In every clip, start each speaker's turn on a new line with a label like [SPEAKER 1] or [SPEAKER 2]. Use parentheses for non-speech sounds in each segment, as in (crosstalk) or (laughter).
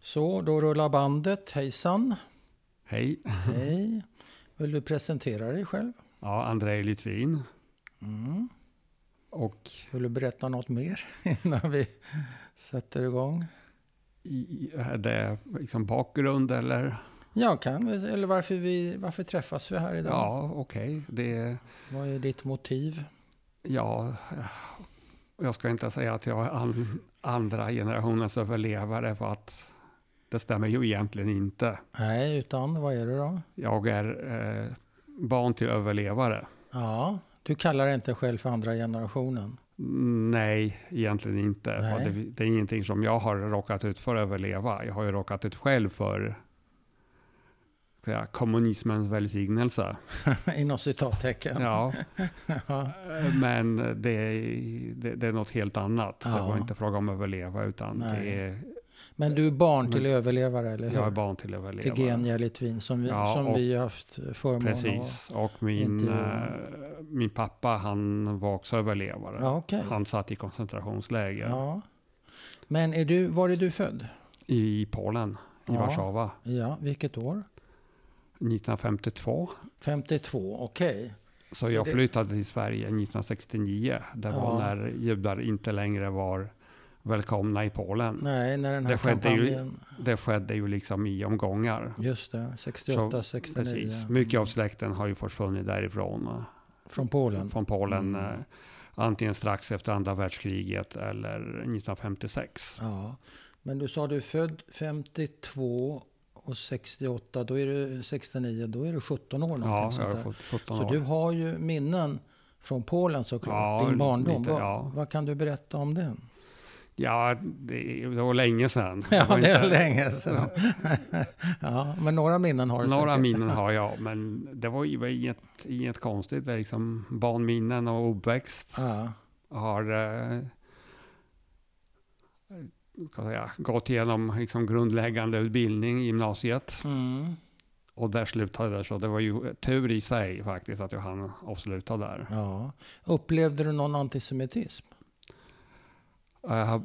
[SPEAKER 1] Så, då rullar bandet. Hejsan!
[SPEAKER 2] Hej,
[SPEAKER 1] Hej! Vill du presentera dig själv?
[SPEAKER 2] ja, Andrei Litvin.
[SPEAKER 1] Mm.
[SPEAKER 2] Och
[SPEAKER 1] Vill du berätta något mer (laughs) innan vi sätter igång?
[SPEAKER 2] i, är det liksom bakgrund eller?
[SPEAKER 1] Jag kan, väl- eller varför, vi, varför träffas vi här idag?
[SPEAKER 2] Ja, okej. Det,
[SPEAKER 1] Vad är ditt motiv?
[SPEAKER 2] ja, eh, jag ska inte säga att jag är an, andra generationens överlevare för att det stämmer ju egentligen inte.
[SPEAKER 1] Nej, utan vad är det då?
[SPEAKER 2] Jag är eh, barn till överlevare.
[SPEAKER 1] Ja, du kallar dig inte själv för andra generationen. (laughs)
[SPEAKER 2] Mm, Nej, egentligen inte.
[SPEAKER 1] Nej.
[SPEAKER 2] För Det, det är ingenting som jag har råkat ut för att överleva. Jag har ju råkat ut själv för ska jag, säga, kommunismens välsignelse.
[SPEAKER 1] Inom citattecken.
[SPEAKER 2] Ja,
[SPEAKER 1] (laughs) Ja.
[SPEAKER 2] men det, är- det, det är något helt annat. Det
[SPEAKER 1] Ja.
[SPEAKER 2] var inte fråga om att överleva, utan
[SPEAKER 1] Nej.
[SPEAKER 2] det är,
[SPEAKER 1] Men du är barn till
[SPEAKER 2] Men-
[SPEAKER 1] överlevare, eller hur?
[SPEAKER 2] jag är barn till överlevare.
[SPEAKER 1] till Genia Litvin, som vi,
[SPEAKER 2] Ja,
[SPEAKER 1] som
[SPEAKER 2] och-
[SPEAKER 1] vi har haft förmånen
[SPEAKER 2] Precis, och min,
[SPEAKER 1] Inte-
[SPEAKER 2] eh, min pappa han var också överlevare.
[SPEAKER 1] av. Ja, okej.
[SPEAKER 2] Han satt i koncentrationsläger
[SPEAKER 1] Ja. Men är du, var är du född?
[SPEAKER 2] i Polen, i
[SPEAKER 1] Ja.
[SPEAKER 2] Warszawa,
[SPEAKER 1] Ja, vilket år?
[SPEAKER 2] 1952.
[SPEAKER 1] 52, okej.
[SPEAKER 2] Så,
[SPEAKER 1] Så
[SPEAKER 2] jag
[SPEAKER 1] det-
[SPEAKER 2] flyttade till Sverige 1969. Det var
[SPEAKER 1] Ja.
[SPEAKER 2] när judar inte längre var välkomna i Polen.
[SPEAKER 1] Nej, när den här
[SPEAKER 2] Det skedde ju-
[SPEAKER 1] kampanjen...
[SPEAKER 2] Det skedde ju liksom i omgångar.
[SPEAKER 1] Just det, 68,
[SPEAKER 2] Så,
[SPEAKER 1] 69.
[SPEAKER 2] Precis. Mycket av släkten har ju försvunnit därifrån. eh,
[SPEAKER 1] Från Polen.
[SPEAKER 2] Från Polen.
[SPEAKER 1] Mm.
[SPEAKER 2] eh, Antingen strax efter andra världskriget eller 1956.
[SPEAKER 1] Ja. Men du sa du är född 52 och 68, då är du 69, då är du 17 år. någonting
[SPEAKER 2] Ja,
[SPEAKER 1] sånt
[SPEAKER 2] jag har
[SPEAKER 1] där.
[SPEAKER 2] fått 17
[SPEAKER 1] Så
[SPEAKER 2] år.
[SPEAKER 1] du har ju minnen från Polen såklart,
[SPEAKER 2] Ja,
[SPEAKER 1] din barndom.
[SPEAKER 2] lite,
[SPEAKER 1] vad,
[SPEAKER 2] ja.
[SPEAKER 1] vad kan du berätta om den?
[SPEAKER 2] Ja, det, det var länge sedan.
[SPEAKER 1] (laughs) Ja,
[SPEAKER 2] var
[SPEAKER 1] det är
[SPEAKER 2] inte-
[SPEAKER 1] länge sedan. (laughs) ja, men några minnen har du
[SPEAKER 2] Några
[SPEAKER 1] säkert. (laughs)
[SPEAKER 2] minnen har jag, men det var ju var inget, inget konstigt. Det är liksom barnminnen och uppväxt.
[SPEAKER 1] Ja,
[SPEAKER 2] har eh, ska jag säga, gått igenom liksom grundläggande utbildning i gymnasiet
[SPEAKER 1] mm.
[SPEAKER 2] och där slutade det. Så det var ju tur i sig faktiskt att jag hann avsluta där.
[SPEAKER 1] ja. Upplevde du någon antisemitism?
[SPEAKER 2] Eh,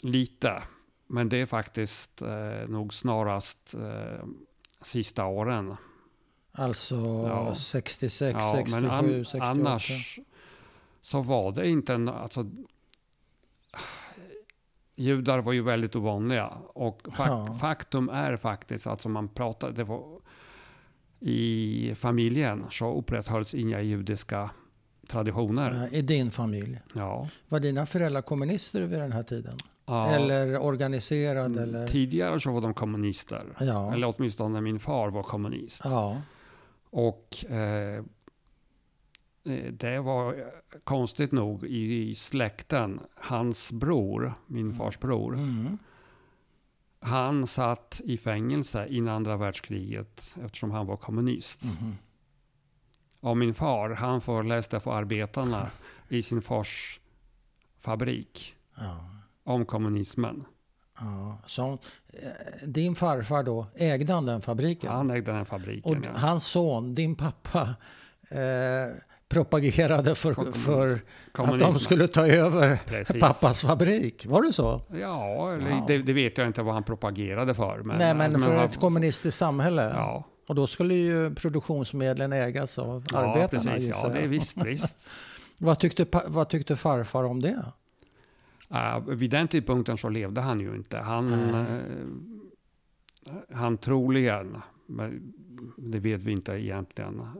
[SPEAKER 2] lite, men det är faktiskt eh, nog snarast eh, sista åren.
[SPEAKER 1] Alltså
[SPEAKER 2] Ja.
[SPEAKER 1] 66,
[SPEAKER 2] Ja,
[SPEAKER 1] 67,
[SPEAKER 2] men an-
[SPEAKER 1] 68?
[SPEAKER 2] annars så var det inte en, alltså, judar var ju väldigt ovanliga. Och fak,
[SPEAKER 1] Ja.
[SPEAKER 2] faktum är faktiskt att som man pratade, det var, i familjen så upprätthölls inga judiska traditioner.
[SPEAKER 1] Eh, I din familj?
[SPEAKER 2] Ja.
[SPEAKER 1] Var dina föräldrar kommunister vid den här tiden?
[SPEAKER 2] Ja.
[SPEAKER 1] Eller organiserade? Eller?
[SPEAKER 2] Tidigare så var de kommunister.
[SPEAKER 1] Ja.
[SPEAKER 2] Eller åtminstone min far var kommunist.
[SPEAKER 1] ja.
[SPEAKER 2] Och eh, eh, det var eh, konstigt nog i, i släkten, hans bror, min fars bror,
[SPEAKER 1] Mm.
[SPEAKER 2] han satt i fängelse innan andra världskriget eftersom han var kommunist.
[SPEAKER 1] Mhm.
[SPEAKER 2] Och min far, han föreläste för arbetarna i sin fars fabrik
[SPEAKER 1] Ja.
[SPEAKER 2] om kommunismen.
[SPEAKER 1] Ja. Så, eh, din farfar då, ägde han den fabriken?
[SPEAKER 2] Han ägde den här
[SPEAKER 1] Och
[SPEAKER 2] fabriken.
[SPEAKER 1] d-
[SPEAKER 2] ja.
[SPEAKER 1] hans son, din pappa, eh, propagerade för,
[SPEAKER 2] För
[SPEAKER 1] för att de
[SPEAKER 2] Kommunismen.
[SPEAKER 1] skulle ta över
[SPEAKER 2] Precis.
[SPEAKER 1] pappas fabrik. Var det så?
[SPEAKER 2] Ja, eller,
[SPEAKER 1] Ja.
[SPEAKER 2] Det, det vet jag inte vad han propagerade för. Men,
[SPEAKER 1] Nej, men för
[SPEAKER 2] han-
[SPEAKER 1] ett kommunistiskt samhälle.
[SPEAKER 2] Ja,
[SPEAKER 1] Och då skulle ju produktionsmedlen ägas av arbetarna
[SPEAKER 2] Ja, precis.
[SPEAKER 1] gissar
[SPEAKER 2] Ja,
[SPEAKER 1] jag.
[SPEAKER 2] det är
[SPEAKER 1] (laughs)
[SPEAKER 2] visst, visst.
[SPEAKER 1] vad, tyckte, pa- vad tyckte farfar om det?
[SPEAKER 2] Eh, vid den tidpunkten så levde han ju inte. Han, eh, han troligen, men det vet vi inte egentligen eh,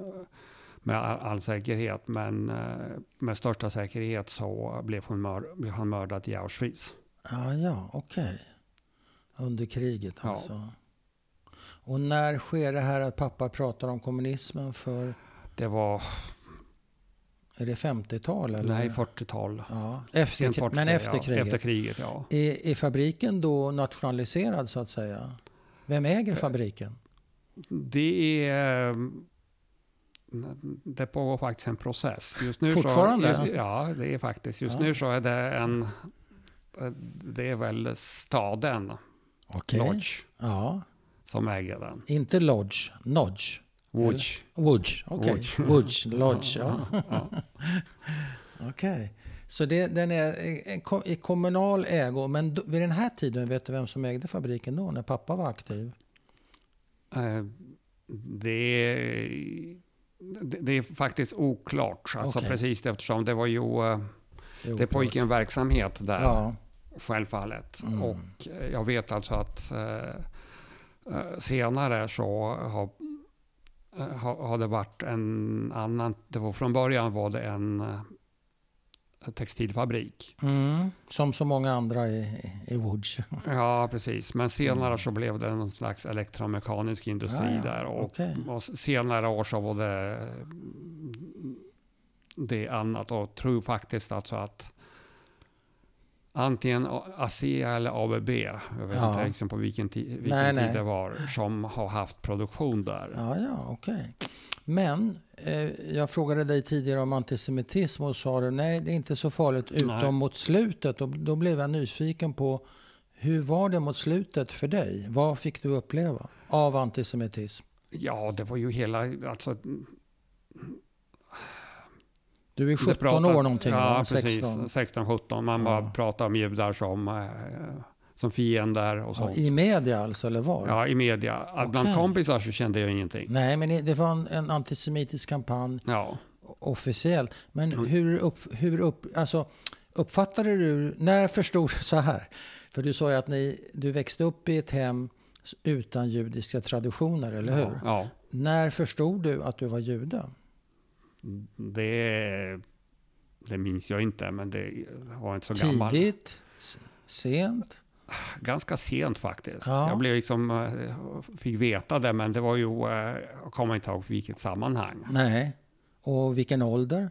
[SPEAKER 2] med all, all säkerhet, men eh, med största säkerhet så blev, hon mör, blev han mördad i Auschwitz.
[SPEAKER 1] Ja, ja, okej. Under kriget
[SPEAKER 2] Ja.
[SPEAKER 1] alltså. Och när sker det här att pappa pratar om kommunismen för,
[SPEAKER 2] Det var,
[SPEAKER 1] är det 50-tal? Eller?
[SPEAKER 2] nej, 40-tal.
[SPEAKER 1] Ja, efter,
[SPEAKER 2] Sent 40-tal,
[SPEAKER 1] men efter
[SPEAKER 2] ja.
[SPEAKER 1] kriget.
[SPEAKER 2] Efter kriget, ja.
[SPEAKER 1] Är, är fabriken då nationaliserad så att säga? Vem äger
[SPEAKER 2] Eh,
[SPEAKER 1] fabriken?
[SPEAKER 2] Det är... eh, Det pågår faktiskt en process. Just nu
[SPEAKER 1] Fortfarande?
[SPEAKER 2] Så, just, ja, det är faktiskt. Just
[SPEAKER 1] Ja.
[SPEAKER 2] nu så är det en... Det är väl staden,
[SPEAKER 1] Okej.
[SPEAKER 2] Lodge,
[SPEAKER 1] Ja,
[SPEAKER 2] som äger den.
[SPEAKER 1] inte Lodge, Nodge.
[SPEAKER 2] Wodge.
[SPEAKER 1] (laughs) Wodge, okej.
[SPEAKER 2] Wodge.
[SPEAKER 1] Wodge, Lodge, ja.
[SPEAKER 2] Ja.
[SPEAKER 1] Okej. Så det, den är i- i kommunal ägo. Men då, vid den här tiden, vet du vem som ägde fabriken då, när pappa var aktiv?
[SPEAKER 2] Eh, Det, det, det är faktiskt oklart. Alltså
[SPEAKER 1] Okej.
[SPEAKER 2] precis eftersom det var ju, eh,
[SPEAKER 1] är
[SPEAKER 2] det
[SPEAKER 1] oklart.
[SPEAKER 2] pågick en verksamhet där
[SPEAKER 1] Ja,
[SPEAKER 2] självfallet.
[SPEAKER 1] Mm.
[SPEAKER 2] Och eh, jag vet alltså att eh, eh, senare så har, eh, har, har det varit en annan, det var från början var det en eh, textilfabrik.
[SPEAKER 1] mm. som så många andra i, i Woods.
[SPEAKER 2] Ja, precis. Men senare
[SPEAKER 1] Mm.
[SPEAKER 2] så blev det någon slags elektromekanisk industri
[SPEAKER 1] Ja, ja.
[SPEAKER 2] där. Och
[SPEAKER 1] Okej.
[SPEAKER 2] Och senare år så var det, mm, det annat och tror faktiskt alltså att antingen ASEA eller ABB, jag vet
[SPEAKER 1] Ja.
[SPEAKER 2] inte liksom på vilken, ti- vilken
[SPEAKER 1] Nej,
[SPEAKER 2] tid
[SPEAKER 1] nej.
[SPEAKER 2] det var, som har haft produktion där.
[SPEAKER 1] Ja, ja, okej. Men eh, jag frågade dig tidigare om antisemitism och sa du nej, det är inte så farligt utom
[SPEAKER 2] Nej.
[SPEAKER 1] mot slutet. Och då blev jag nyfiken på hur var det mot slutet för dig? Vad fick du uppleva av antisemitism?
[SPEAKER 2] Ja, det var ju hela... Alltså,
[SPEAKER 1] Du är
[SPEAKER 2] det
[SPEAKER 1] 17
[SPEAKER 2] pratas-
[SPEAKER 1] år någonting,
[SPEAKER 2] Ja,
[SPEAKER 1] va?
[SPEAKER 2] precis.
[SPEAKER 1] 16.
[SPEAKER 2] 16-17. Man
[SPEAKER 1] Ja.
[SPEAKER 2] bara pratar om judar som, eh, som fiender och
[SPEAKER 1] Ja,
[SPEAKER 2] sånt.
[SPEAKER 1] I media alltså, eller var?
[SPEAKER 2] Ja, i media. Bland
[SPEAKER 1] Okej. Mm.
[SPEAKER 2] kompisar så kände jag ingenting.
[SPEAKER 1] Nej, men det var en, en antisemitisk kampanj
[SPEAKER 2] Ja.
[SPEAKER 1] officiellt. Men
[SPEAKER 2] Mm.
[SPEAKER 1] hur, upp, hur upp, alltså, uppfattade du, när förstod du så här? För du sa ju att ni, du växte upp i ett hem utan judiska traditioner, eller hur?
[SPEAKER 2] Ja.
[SPEAKER 1] När förstod du att du var jude?
[SPEAKER 2] Det, det minns jag inte, men det var inte så gammal.
[SPEAKER 1] Tidigt? S- Sent?
[SPEAKER 2] Ganska sent faktiskt.
[SPEAKER 1] Ja.
[SPEAKER 2] Jag blev liksom, eh, fick veta det, men det var ju, eh, jag kommer inte ihåg vilket sammanhang.
[SPEAKER 1] Nej. Och vilken ålder?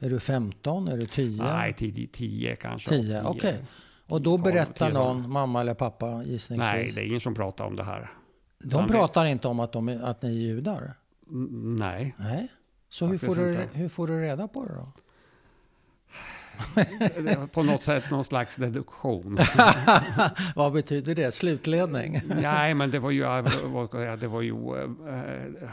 [SPEAKER 1] Är du 15? Är du 10?
[SPEAKER 2] Nej, tio, tio kanske.
[SPEAKER 1] Tio, okej. Och då
[SPEAKER 2] tolv,
[SPEAKER 1] berättar
[SPEAKER 2] tio.
[SPEAKER 1] någon, mamma eller pappa gissningsvis.
[SPEAKER 2] Nej, det är ingen som pratar om det här.
[SPEAKER 1] De pratar inte om att, de, är- att ni är judar?
[SPEAKER 2] N- Nej,
[SPEAKER 1] Nej. Så hur får,
[SPEAKER 2] Faktiskt
[SPEAKER 1] du,
[SPEAKER 2] inte.
[SPEAKER 1] hur får du reda på det då?
[SPEAKER 2] Det var på något sätt någon
[SPEAKER 1] (laughs)
[SPEAKER 2] slags deduktion.
[SPEAKER 1] (laughs) Vad betyder det? Slutledning?
[SPEAKER 2] Nej, men det var ju, eh, vad ska jag säga, det var ju eh,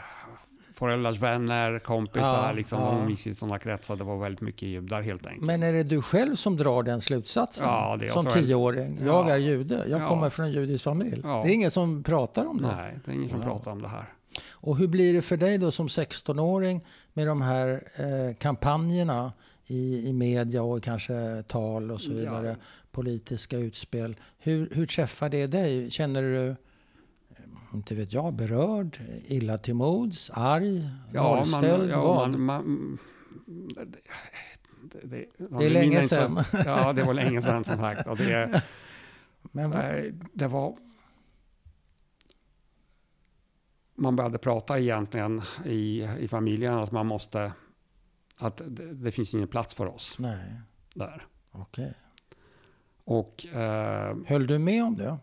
[SPEAKER 2] föräldrars vänner, kompisar,
[SPEAKER 1] Ja,
[SPEAKER 2] liksom,
[SPEAKER 1] ja.
[SPEAKER 2] de umgicks i sådana kretsar. Det var väldigt mycket judar helt enkelt.
[SPEAKER 1] Men är det du själv som drar den slutsatsen?
[SPEAKER 2] Ja, det är jag
[SPEAKER 1] som
[SPEAKER 2] som-
[SPEAKER 1] tioåring? Jag
[SPEAKER 2] Ja.
[SPEAKER 1] är jude. Jag
[SPEAKER 2] Ja.
[SPEAKER 1] kommer från en judisk familj.
[SPEAKER 2] Ja.
[SPEAKER 1] Det är ingen som pratar om det.
[SPEAKER 2] Nej, det är ingen som
[SPEAKER 1] Wow.
[SPEAKER 2] pratar om det här.
[SPEAKER 1] Och hur blir det för dig då som 16-åring med de här eh, kampanjerna i, i media och kanske tal och så
[SPEAKER 2] Ja.
[SPEAKER 1] vidare? Politiska utspel. Hur, hur träffar det dig? Känner du eh, inte vet jag, berörd, illa till mods, arg,
[SPEAKER 2] man,
[SPEAKER 1] vanställd?
[SPEAKER 2] ja,
[SPEAKER 1] vad?
[SPEAKER 2] man, man, det, det, det,
[SPEAKER 1] det är länge sedan.
[SPEAKER 2] ja, det var länge sedan som sagt.
[SPEAKER 1] (laughs)
[SPEAKER 2] Och det,
[SPEAKER 1] Men vad,
[SPEAKER 2] eh, det var... Man började prata egentligen i, i familjen att man måste... Att det, det finns ingen plats för oss
[SPEAKER 1] nej,
[SPEAKER 2] där.
[SPEAKER 1] okej.
[SPEAKER 2] Och eh,
[SPEAKER 1] Höll du med om det?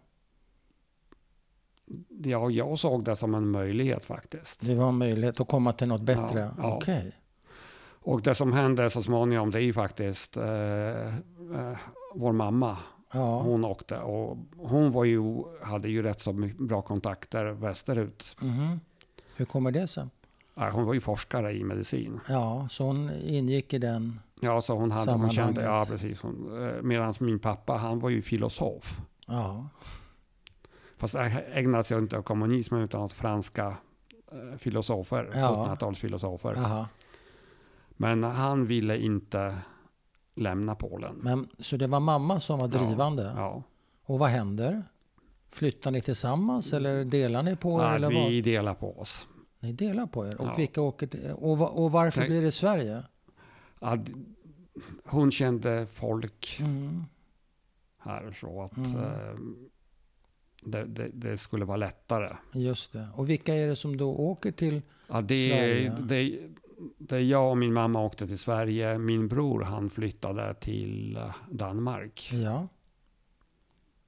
[SPEAKER 2] jag, jag såg det som en möjlighet faktiskt.
[SPEAKER 1] Det var en möjlighet att komma till något bättre?
[SPEAKER 2] Ja, ja.
[SPEAKER 1] Okej.
[SPEAKER 2] Och det som hände så småningom det är ju faktiskt eh, eh, vår mamma
[SPEAKER 1] Ja.
[SPEAKER 2] Hon åkte och hon var ju, hade ju rätt så my- bra kontakter västerut.
[SPEAKER 1] Mhm. Hur kommer det sig?
[SPEAKER 2] Ja, Hon var ju forskare i medicin.
[SPEAKER 1] Ja, så hon ingick i den.
[SPEAKER 2] Ja, så hon, hade, hon kände, ja
[SPEAKER 1] Sammanhanget.
[SPEAKER 2] precis. Hon, eh, medans min pappa, han var ju filosof.
[SPEAKER 1] Ja,
[SPEAKER 2] Fast han ägnade sig inte åt kommunismen utan åt franska eh, filosofer,
[SPEAKER 1] Ja.
[SPEAKER 2] 1700-talsfilosofer.
[SPEAKER 1] aha.
[SPEAKER 2] Men han ville inte lämna Polen.
[SPEAKER 1] Men, så det var mamma som var
[SPEAKER 2] Ja,
[SPEAKER 1] drivande.
[SPEAKER 2] Ja.
[SPEAKER 1] Och vad händer? Flyttar ni tillsammans eller delar ni på er?
[SPEAKER 2] Nej,
[SPEAKER 1] Eller vad?
[SPEAKER 2] Mm. vi delar på oss.
[SPEAKER 1] Ni delar på er? Och,
[SPEAKER 2] Ja.
[SPEAKER 1] vilka åker till, och, va- och varför
[SPEAKER 2] Nej.
[SPEAKER 1] blir det Sverige?
[SPEAKER 2] Ja, hon kände folk
[SPEAKER 1] Mm.
[SPEAKER 2] här så att
[SPEAKER 1] Mm.
[SPEAKER 2] eh, det, det, det skulle vara lättare.
[SPEAKER 1] Just det. Och vilka är det som då åker till?
[SPEAKER 2] Ja, det,
[SPEAKER 1] Sverige.
[SPEAKER 2] det, det jag och min mamma åkte till Sverige, min bror han flyttade till eh, Danmark.
[SPEAKER 1] Ja,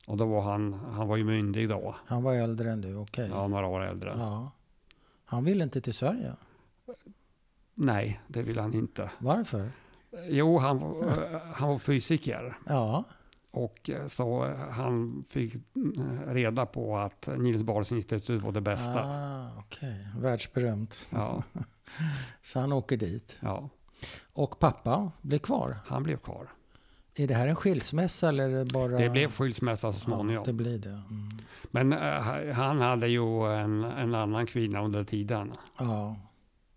[SPEAKER 2] Och då var han, han var ju myndig då,
[SPEAKER 1] han var äldre än du, okej.
[SPEAKER 2] ja, några år äldre.
[SPEAKER 1] Mm. Ja. Han ville inte till Sverige.
[SPEAKER 2] Nej, det ville han inte.
[SPEAKER 1] Varför?
[SPEAKER 2] Jo, han, var-
[SPEAKER 1] Mm.
[SPEAKER 2] eh, han var fysiker.
[SPEAKER 1] Ja,
[SPEAKER 2] Och eh, så eh, han fick eh, reda på att Niels Bohrs institut var det bästa.
[SPEAKER 1] Ah, okej. Världsberömt.
[SPEAKER 2] Ja,
[SPEAKER 1] Så han åker dit.
[SPEAKER 2] ja.
[SPEAKER 1] Och pappa blev kvar.
[SPEAKER 2] Han blev kvar.
[SPEAKER 1] Är det här en skilsmässa eller är det bara...
[SPEAKER 2] Det blev skilsmässa så
[SPEAKER 1] Ja, det
[SPEAKER 2] småningom.
[SPEAKER 1] blir det. Mm.
[SPEAKER 2] Men eh, han hade ju en, en annan kvinna under tiden.
[SPEAKER 1] Ja,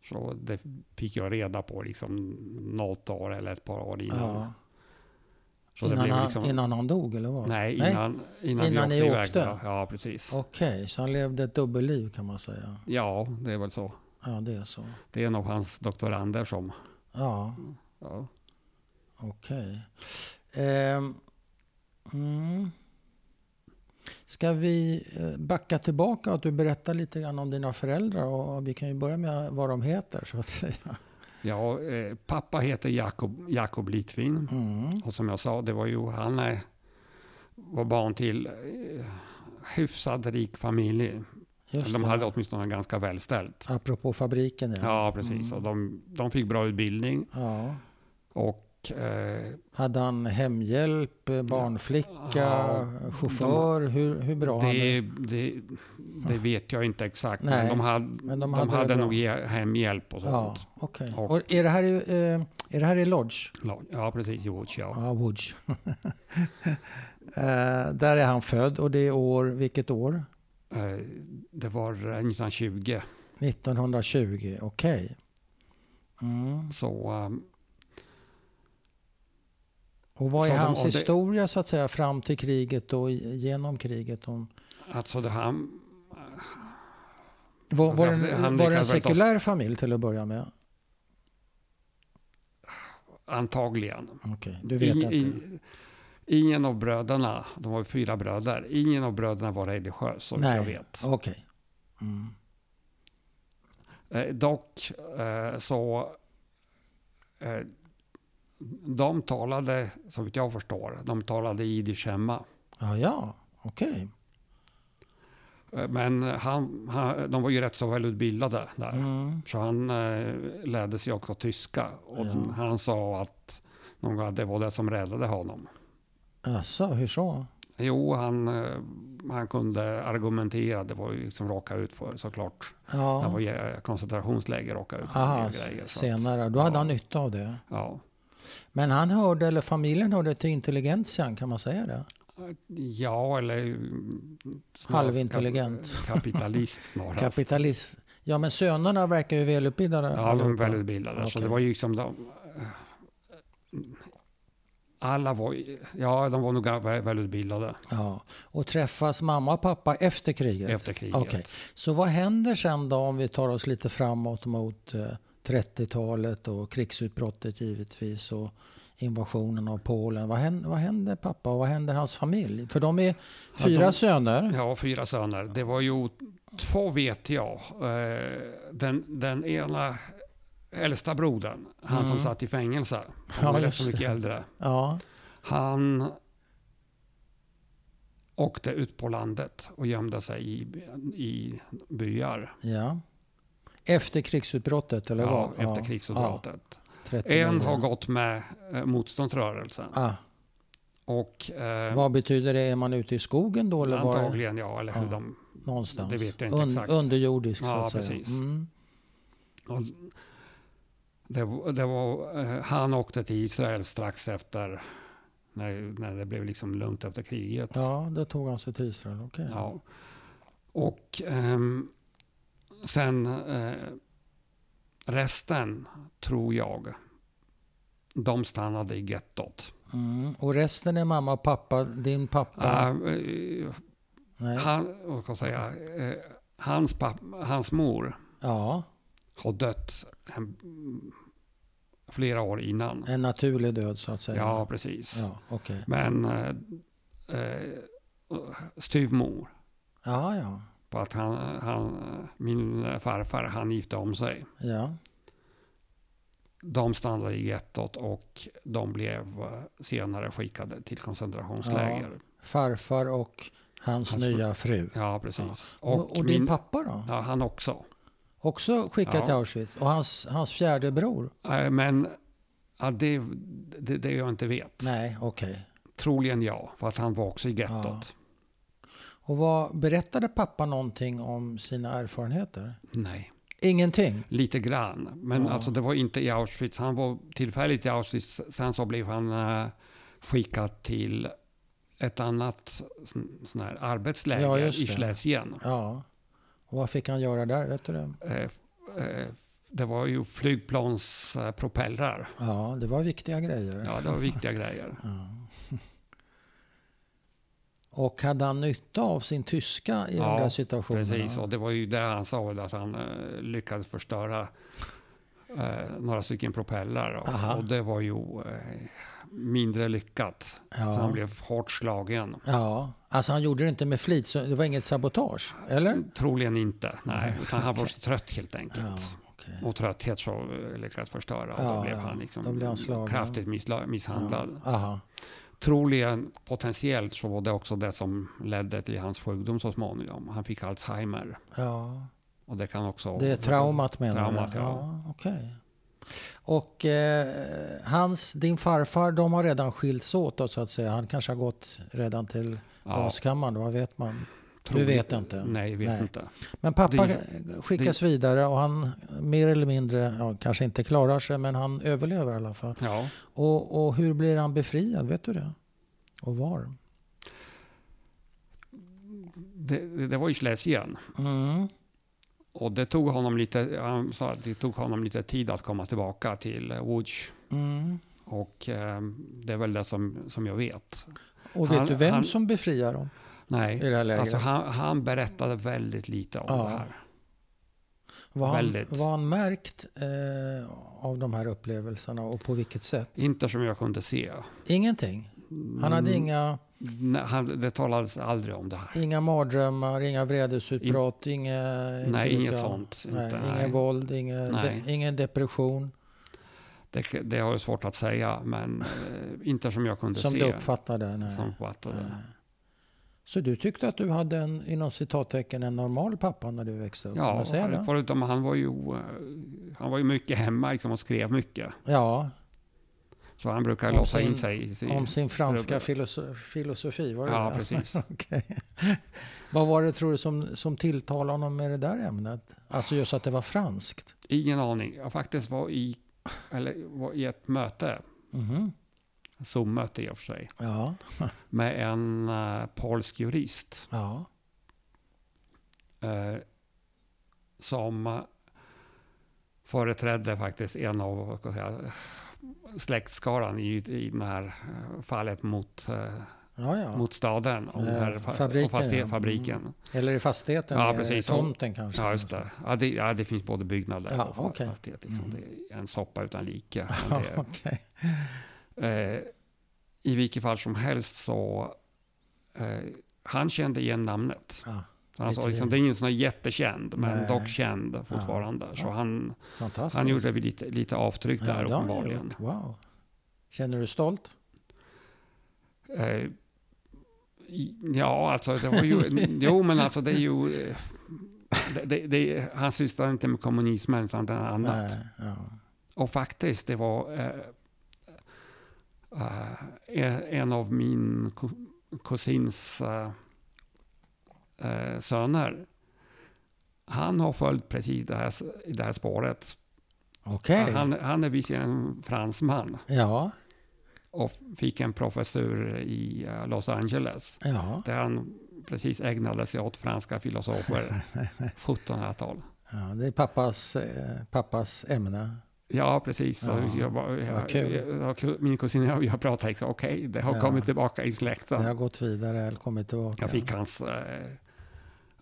[SPEAKER 2] Så det fick jag reda på liksom något år eller ett par år innan.
[SPEAKER 1] ja.
[SPEAKER 2] Så det
[SPEAKER 1] Innan,
[SPEAKER 2] blev
[SPEAKER 1] han,
[SPEAKER 2] liksom,
[SPEAKER 1] innan han dog eller vad?
[SPEAKER 2] nej, innan, innan,
[SPEAKER 1] innan
[SPEAKER 2] vi
[SPEAKER 1] ni
[SPEAKER 2] åkte,
[SPEAKER 1] åkte.
[SPEAKER 2] iväg. Ja, precis.
[SPEAKER 1] Okej, så han levde ett dubbelliv kan man säga.
[SPEAKER 2] Ja, det är väl så.
[SPEAKER 1] Ja, det är så.
[SPEAKER 2] Det är nog hans doktorander som...
[SPEAKER 1] Ja,
[SPEAKER 2] Ja.
[SPEAKER 1] okej. Ehm, mm. Ska vi eh, backa tillbaka och att du berättar lite grann om dina föräldrar och vi kan ju börja med vad de heter så att
[SPEAKER 2] (laughs)
[SPEAKER 1] säga.
[SPEAKER 2] Ja, eh, pappa heter Jakob, Jakob Litvin.
[SPEAKER 1] Mm.
[SPEAKER 2] Och som jag sa, det var ju, han eh, var barn till eh, hyfsad rik familj.
[SPEAKER 1] Just
[SPEAKER 2] De
[SPEAKER 1] det.
[SPEAKER 2] hade åtminstone ganska välställt.
[SPEAKER 1] Apropå fabriken ja.
[SPEAKER 2] Ja,
[SPEAKER 1] Mm.
[SPEAKER 2] precis. Och de, de fick bra utbildning.
[SPEAKER 1] Ja.
[SPEAKER 2] Och, eh,
[SPEAKER 1] Hade han hemhjälp, eh, barnflicka,
[SPEAKER 2] Ja,
[SPEAKER 1] chaufför? Hur, hur bra han
[SPEAKER 2] det, det, det vet jag inte exakt.
[SPEAKER 1] Nej,
[SPEAKER 2] men de hade,
[SPEAKER 1] men de
[SPEAKER 2] de
[SPEAKER 1] hade
[SPEAKER 2] hade,
[SPEAKER 1] det bra.
[SPEAKER 2] nog he- hemhjälp och
[SPEAKER 1] Ja,
[SPEAKER 2] sånt.
[SPEAKER 1] okej.
[SPEAKER 2] Och-
[SPEAKER 1] Och är det här i, eh, är det här i Lodge?
[SPEAKER 2] Ja, precis. Jo, ja.
[SPEAKER 1] Ja, Woods. (laughs) eh, där är han född och det är år, vilket år?
[SPEAKER 2] Eh, Det var eh, 1920.
[SPEAKER 1] 1920, okej. Mm.
[SPEAKER 2] Så eh,
[SPEAKER 1] Och vad är
[SPEAKER 2] Så de-
[SPEAKER 1] hans
[SPEAKER 2] om det-
[SPEAKER 1] historia så att säga fram till kriget och i- genom kriget? Om,
[SPEAKER 2] alltså det han,
[SPEAKER 1] var, var,
[SPEAKER 2] Han-
[SPEAKER 1] det,
[SPEAKER 2] han
[SPEAKER 1] var det en
[SPEAKER 2] lyckades väl ta-
[SPEAKER 1] sekulär familj till att börja med?
[SPEAKER 2] antagligen.
[SPEAKER 1] Okej, du vet
[SPEAKER 2] I-
[SPEAKER 1] inte.
[SPEAKER 2] i- ingen av bröderna, de var fyra bröder, ingen av bröderna var religiös som
[SPEAKER 1] Nej.
[SPEAKER 2] jag vet.
[SPEAKER 1] Okej. Mm.
[SPEAKER 2] Eh, dock eh, så, eh, de talade, som jag förstår, de talade jiddisch hemma.
[SPEAKER 1] Ja, ja. okej.
[SPEAKER 2] Eh, Men han, han, de var ju rätt så välutbildade där.
[SPEAKER 1] Mm.
[SPEAKER 2] Så han eh, lärde sig också tyska. Och
[SPEAKER 1] Ja.
[SPEAKER 2] han sa att någon gång att det var det som räddade honom.
[SPEAKER 1] Alltså, hur så?
[SPEAKER 2] Jo, han, eh, han kunde argumentera. Det var ju liksom raka ut för såklart.
[SPEAKER 1] Ja.
[SPEAKER 2] Han var i koncentrationsläger raka ut för en
[SPEAKER 1] Aha,
[SPEAKER 2] del grejer. så att-
[SPEAKER 1] senare. Då hade
[SPEAKER 2] ja.
[SPEAKER 1] han nytta av det.
[SPEAKER 2] Ja.
[SPEAKER 1] Men han hörde, eller familjen hörde till intelligensen, kan man säga det?
[SPEAKER 2] ja, eller mm, snarast
[SPEAKER 1] Halvintelligent.
[SPEAKER 2] kap- (laughs) Kapitalist snarast.
[SPEAKER 1] Kapitalist. Ja, men sönerna verkar ju välutbildade.
[SPEAKER 2] ja, de
[SPEAKER 1] allihopa.
[SPEAKER 2] var välutbildade. Så
[SPEAKER 1] Okej.
[SPEAKER 2] det var ju liksom de... eh, Alla var, ja, de var nog vä- välutbildade
[SPEAKER 1] Ja. Och träffas mamma och pappa efter kriget?
[SPEAKER 2] efter kriget.
[SPEAKER 1] Okej. Så vad händer sen då om vi tar oss lite framåt mot eh, 30-talet och krigsutbrottet givetvis och invasionen av Polen. Vad händer, vad händer pappa och vad händer hans familj? För de är
[SPEAKER 2] Ja,
[SPEAKER 1] fyra
[SPEAKER 2] de-
[SPEAKER 1] söner.
[SPEAKER 2] Ja, fyra söner. Det var ju två vet jag. Eh, Den, den ena äldsta brodern, han som
[SPEAKER 1] Mm.
[SPEAKER 2] satt i fängelse, han
[SPEAKER 1] Ja,
[SPEAKER 2] var rätt
[SPEAKER 1] just
[SPEAKER 2] så mycket äldre.
[SPEAKER 1] Ja,
[SPEAKER 2] Han åkte ut på landet och gömde sig i, i byar.
[SPEAKER 1] ja. Efter krigsutbrottet eller vad?
[SPEAKER 2] Ja, efter krigsutbrottet.
[SPEAKER 1] Ja, 39.
[SPEAKER 2] En har gått med eh, motståndsrörelsen.
[SPEAKER 1] Ah,
[SPEAKER 2] Och eh,
[SPEAKER 1] vad betyder det? Är man ute i skogen då? Eller var,
[SPEAKER 2] antagligen ja, eller
[SPEAKER 1] Ja.
[SPEAKER 2] hur de...
[SPEAKER 1] någonstans?
[SPEAKER 2] det vet jag inte exakt.
[SPEAKER 1] Underjordisk så
[SPEAKER 2] Ja,
[SPEAKER 1] att säga.
[SPEAKER 2] precis.
[SPEAKER 1] Mm.
[SPEAKER 2] Och det, var- det var, eh, han åkte till Israel strax efter, när, när det blev liksom lugnt efter kriget.
[SPEAKER 1] Ja, då tog han sig till Israel. Okej.
[SPEAKER 2] Ja. Och ehm, sen eh, resten, tror jag, de stannade i gettot.
[SPEAKER 1] Mm. Och resten är mamma och pappa. Din pappa?
[SPEAKER 2] Eh, eh,
[SPEAKER 1] Nej.
[SPEAKER 2] han, vad ska jag säga, eh, hans, pappa, hans mor
[SPEAKER 1] Ja,
[SPEAKER 2] har dött en, flera år innan.
[SPEAKER 1] en naturlig död så att säga.
[SPEAKER 2] Ja, precis.
[SPEAKER 1] ja okej.
[SPEAKER 2] Men eh, eh, styvmor,
[SPEAKER 1] Ja, ja.
[SPEAKER 2] på att han, han, min farfar, han gifte om sig.
[SPEAKER 1] Ja,
[SPEAKER 2] De stannade i gettot och de blev eh, senare skickade till koncentrationsläger.
[SPEAKER 1] farfar och hans
[SPEAKER 2] Hans fru.
[SPEAKER 1] nya fru.
[SPEAKER 2] Ja, precis.
[SPEAKER 1] Och, och, din
[SPEAKER 2] min-
[SPEAKER 1] pappa då?
[SPEAKER 2] Ja, han också.
[SPEAKER 1] Också skickad
[SPEAKER 2] Ja.
[SPEAKER 1] till Auschwitz. Och hans, hans fjärde bror?
[SPEAKER 2] Eh, Men ja, det, det, det jag inte vet.
[SPEAKER 1] Nej, okej.
[SPEAKER 2] Troligen ja, för att han var också i gettot.
[SPEAKER 1] Ja. Och vad, berättade pappa någonting om sina erfarenheter?
[SPEAKER 2] Nej.
[SPEAKER 1] Ingenting?
[SPEAKER 2] Lite grann. Men
[SPEAKER 1] Ja.
[SPEAKER 2] alltså det var inte i Auschwitz. Han var tillfälligt i Auschwitz. Sen så blev han eh, skickad till ett annat sån sån här arbetsläger
[SPEAKER 1] Ja,
[SPEAKER 2] i
[SPEAKER 1] just det.
[SPEAKER 2] Schlesien.
[SPEAKER 1] Ja. Och vad fick han göra där? Vet du det?
[SPEAKER 2] Eh, f- eh, Det var ju flygplanspropellrar.
[SPEAKER 1] Ja, det var viktiga grejer.
[SPEAKER 2] Ja, det var
[SPEAKER 1] (laughs)
[SPEAKER 2] viktiga grejer.
[SPEAKER 1] Ja. Och hade han nytta av sin tyska i
[SPEAKER 2] Ja,
[SPEAKER 1] de där situationerna?
[SPEAKER 2] Precis, och det var ju det han sa, att han eh, lyckades förstöra eh, några stycken propellrar.
[SPEAKER 1] Aha.
[SPEAKER 2] Och, och det var ju eh, mindre lyckat.
[SPEAKER 1] Ja.
[SPEAKER 2] Så han blev hårt slagen.
[SPEAKER 1] Ja, alltså han gjorde det inte med flit, så det var inget sabotage, eller?
[SPEAKER 2] Troligen inte, nej.
[SPEAKER 1] Nej,
[SPEAKER 2] Utan han var
[SPEAKER 1] okej.
[SPEAKER 2] så trött helt
[SPEAKER 1] Ja,
[SPEAKER 2] enkelt.
[SPEAKER 1] okej.
[SPEAKER 2] Och trötthet så eh, lyckades förstöra. Och
[SPEAKER 1] Ja,
[SPEAKER 2] då blev
[SPEAKER 1] ja.
[SPEAKER 2] han, liksom
[SPEAKER 1] Då blev han slagen.
[SPEAKER 2] kraftigt missla- misshandlad.
[SPEAKER 1] Ja. Aha.
[SPEAKER 2] Troligen, potentiellt, så var det också det som ledde till hans sjukdom så småningom. Han fick Alzheimer.
[SPEAKER 1] Ja,
[SPEAKER 2] Och det kan också...
[SPEAKER 1] det är traumat menar
[SPEAKER 2] Traumat,
[SPEAKER 1] du?
[SPEAKER 2] ja.
[SPEAKER 1] ja okej. Och eh, hans, din farfar, de har redan skilts åt då, så att säga. Han kanske har gått redan till
[SPEAKER 2] Ja,
[SPEAKER 1] gaskammaren, vad vet man?
[SPEAKER 2] troligen-
[SPEAKER 1] vet inte.
[SPEAKER 2] Nej, vet
[SPEAKER 1] Nej.
[SPEAKER 2] inte.
[SPEAKER 1] Men pappa
[SPEAKER 2] Det
[SPEAKER 1] skickas vidare och han mer eller mindre, ja, kanske inte klarar sig, men han överlever i alla fall.
[SPEAKER 2] Ja.
[SPEAKER 1] Och, och hur blir han befriad? Vet du det? Och var?
[SPEAKER 2] Det, det- det var i Schlesien.
[SPEAKER 1] Mm.
[SPEAKER 2] Och det tog honom lite, han sa att det tog honom lite tid att komma tillbaka till Łódź.
[SPEAKER 1] Mm.
[SPEAKER 2] Och eh, det är väl det som, som jag vet.
[SPEAKER 1] Och vet
[SPEAKER 2] Han-
[SPEAKER 1] du vem
[SPEAKER 2] han-
[SPEAKER 1] som befriar dem
[SPEAKER 2] Nej,
[SPEAKER 1] i det här lägret?
[SPEAKER 2] Alltså han, han berättade väldigt lite om
[SPEAKER 1] Ja.
[SPEAKER 2] det här.
[SPEAKER 1] var, han,
[SPEAKER 2] väldigt.
[SPEAKER 1] var han märkt eh, av de här upplevelserna och på vilket sätt?
[SPEAKER 2] Inte som jag kunde se.
[SPEAKER 1] Ingenting. Han hade
[SPEAKER 2] Mm,
[SPEAKER 1] inga,
[SPEAKER 2] Nej, han, det talades aldrig om det här.
[SPEAKER 1] inga mardrömmar, inga vredesutbrott, inga... inte
[SPEAKER 2] Nej,
[SPEAKER 1] vet
[SPEAKER 2] inget
[SPEAKER 1] jag.
[SPEAKER 2] sånt.
[SPEAKER 1] Eh, Nej,
[SPEAKER 2] inte,
[SPEAKER 1] inget
[SPEAKER 2] nej.
[SPEAKER 1] våld, inget,
[SPEAKER 2] Nej.
[SPEAKER 1] de, ingen depression
[SPEAKER 2] Det, det har jag svårt att säga,
[SPEAKER 1] (laughs)
[SPEAKER 2] men eh, inte som jag kunde
[SPEAKER 1] som
[SPEAKER 2] se.
[SPEAKER 1] du uppfattade. Nej.
[SPEAKER 2] Som på att, eh,
[SPEAKER 1] Nej. Så du tyckte att du hade en, inom citattecken, en normal pappa när du växte upp? kan
[SPEAKER 2] ja,
[SPEAKER 1] man säga det?
[SPEAKER 2] förutom han var ju, eh, han var ju mycket hemma liksom, och skrev mycket.
[SPEAKER 1] Ja,
[SPEAKER 2] Så han brukar
[SPEAKER 1] Om
[SPEAKER 2] låsa
[SPEAKER 1] sin-
[SPEAKER 2] in sig. i- i-
[SPEAKER 1] om sin franska
[SPEAKER 2] Rubbet.
[SPEAKER 1] filoso- filosofi, var det
[SPEAKER 2] Ja,
[SPEAKER 1] det? (laughs)
[SPEAKER 2] precis.
[SPEAKER 1] Okej. Vad var det tror du som, som tilltalade honom med det där ämnet? Alltså just att det var franskt?
[SPEAKER 2] Ingen aning. Jag faktiskt var i, eller, var i ett möte,
[SPEAKER 1] Mhm.
[SPEAKER 2] Zoom-möte i och för sig,
[SPEAKER 1] Ja.
[SPEAKER 2] med en eh, polsk jurist.
[SPEAKER 1] ja.
[SPEAKER 2] eh, som eh, företrädde faktiskt en av vad ska jag säga, släktskaran i, i det här eh, fallet mot, eh,
[SPEAKER 1] ja, ja.
[SPEAKER 2] mot staden och, den här
[SPEAKER 1] Eh,
[SPEAKER 2] fas,
[SPEAKER 1] fabriken,
[SPEAKER 2] och fastig,
[SPEAKER 1] ja.
[SPEAKER 2] fabriken.
[SPEAKER 1] Eller i fastigheten,
[SPEAKER 2] Ja,
[SPEAKER 1] eller
[SPEAKER 2] precis.
[SPEAKER 1] tomten kanske?
[SPEAKER 2] Ja, just det. Ja, det, ja, det finns både byggnader
[SPEAKER 1] Ja,
[SPEAKER 2] och fa-
[SPEAKER 1] okej.
[SPEAKER 2] fastighet. Liksom.
[SPEAKER 1] Mm.
[SPEAKER 2] Det är en soppa
[SPEAKER 1] (laughs)
[SPEAKER 2] utan like. Men
[SPEAKER 1] Ja, okej.
[SPEAKER 2] det, eh, I vilket fall som helst så eh, han kände igen namnet.
[SPEAKER 1] Ja,
[SPEAKER 2] Han sa,
[SPEAKER 1] Lite-
[SPEAKER 2] liksom, det är ingen sån här jättekänd, men
[SPEAKER 1] Nej.
[SPEAKER 2] dock känd fortfarande. Så
[SPEAKER 1] Ja.
[SPEAKER 2] han,
[SPEAKER 1] fantastiskt.
[SPEAKER 2] Han gjorde väl lite, lite avtryck
[SPEAKER 1] Alltså, Ja,
[SPEAKER 2] där
[SPEAKER 1] det har han
[SPEAKER 2] uppenbarligen.
[SPEAKER 1] gjort. Wow. Känner du stolt?
[SPEAKER 2] Eh, i- ja, alltså det
[SPEAKER 1] (laughs)
[SPEAKER 2] var ju... jo, men alltså det är ju... eh, Det, det, det, han sysslade inte med kommunismen utan det är annat.
[SPEAKER 1] Nej, ja.
[SPEAKER 2] Och faktiskt, det var eh, eh, en av min ku- kusins eh, eh, söner. Han har följt precis det här, s- i det här spåret.
[SPEAKER 1] Okej.
[SPEAKER 2] Han, han är visserligen fransman.
[SPEAKER 1] Ja,
[SPEAKER 2] och fick en professur i eh, Los Angeles.
[SPEAKER 1] ja.
[SPEAKER 2] Där han precis ägnade sig åt
[SPEAKER 1] (laughs)
[SPEAKER 2] franska filosofer, 1700-tal.
[SPEAKER 1] ja, det är pappas, eh, pappas ämne.
[SPEAKER 2] Ja, precis. Så
[SPEAKER 1] Ja,
[SPEAKER 2] jag, var-
[SPEAKER 1] vad
[SPEAKER 2] jag,
[SPEAKER 1] kul.
[SPEAKER 2] jag, jag, min kusin och jag, jag pratade liksom, okej, det har
[SPEAKER 1] Ja.
[SPEAKER 2] kommit tillbaka i släkten.
[SPEAKER 1] Det har gått vidare eller kommit tillbaka.
[SPEAKER 2] Jag fick hans eh,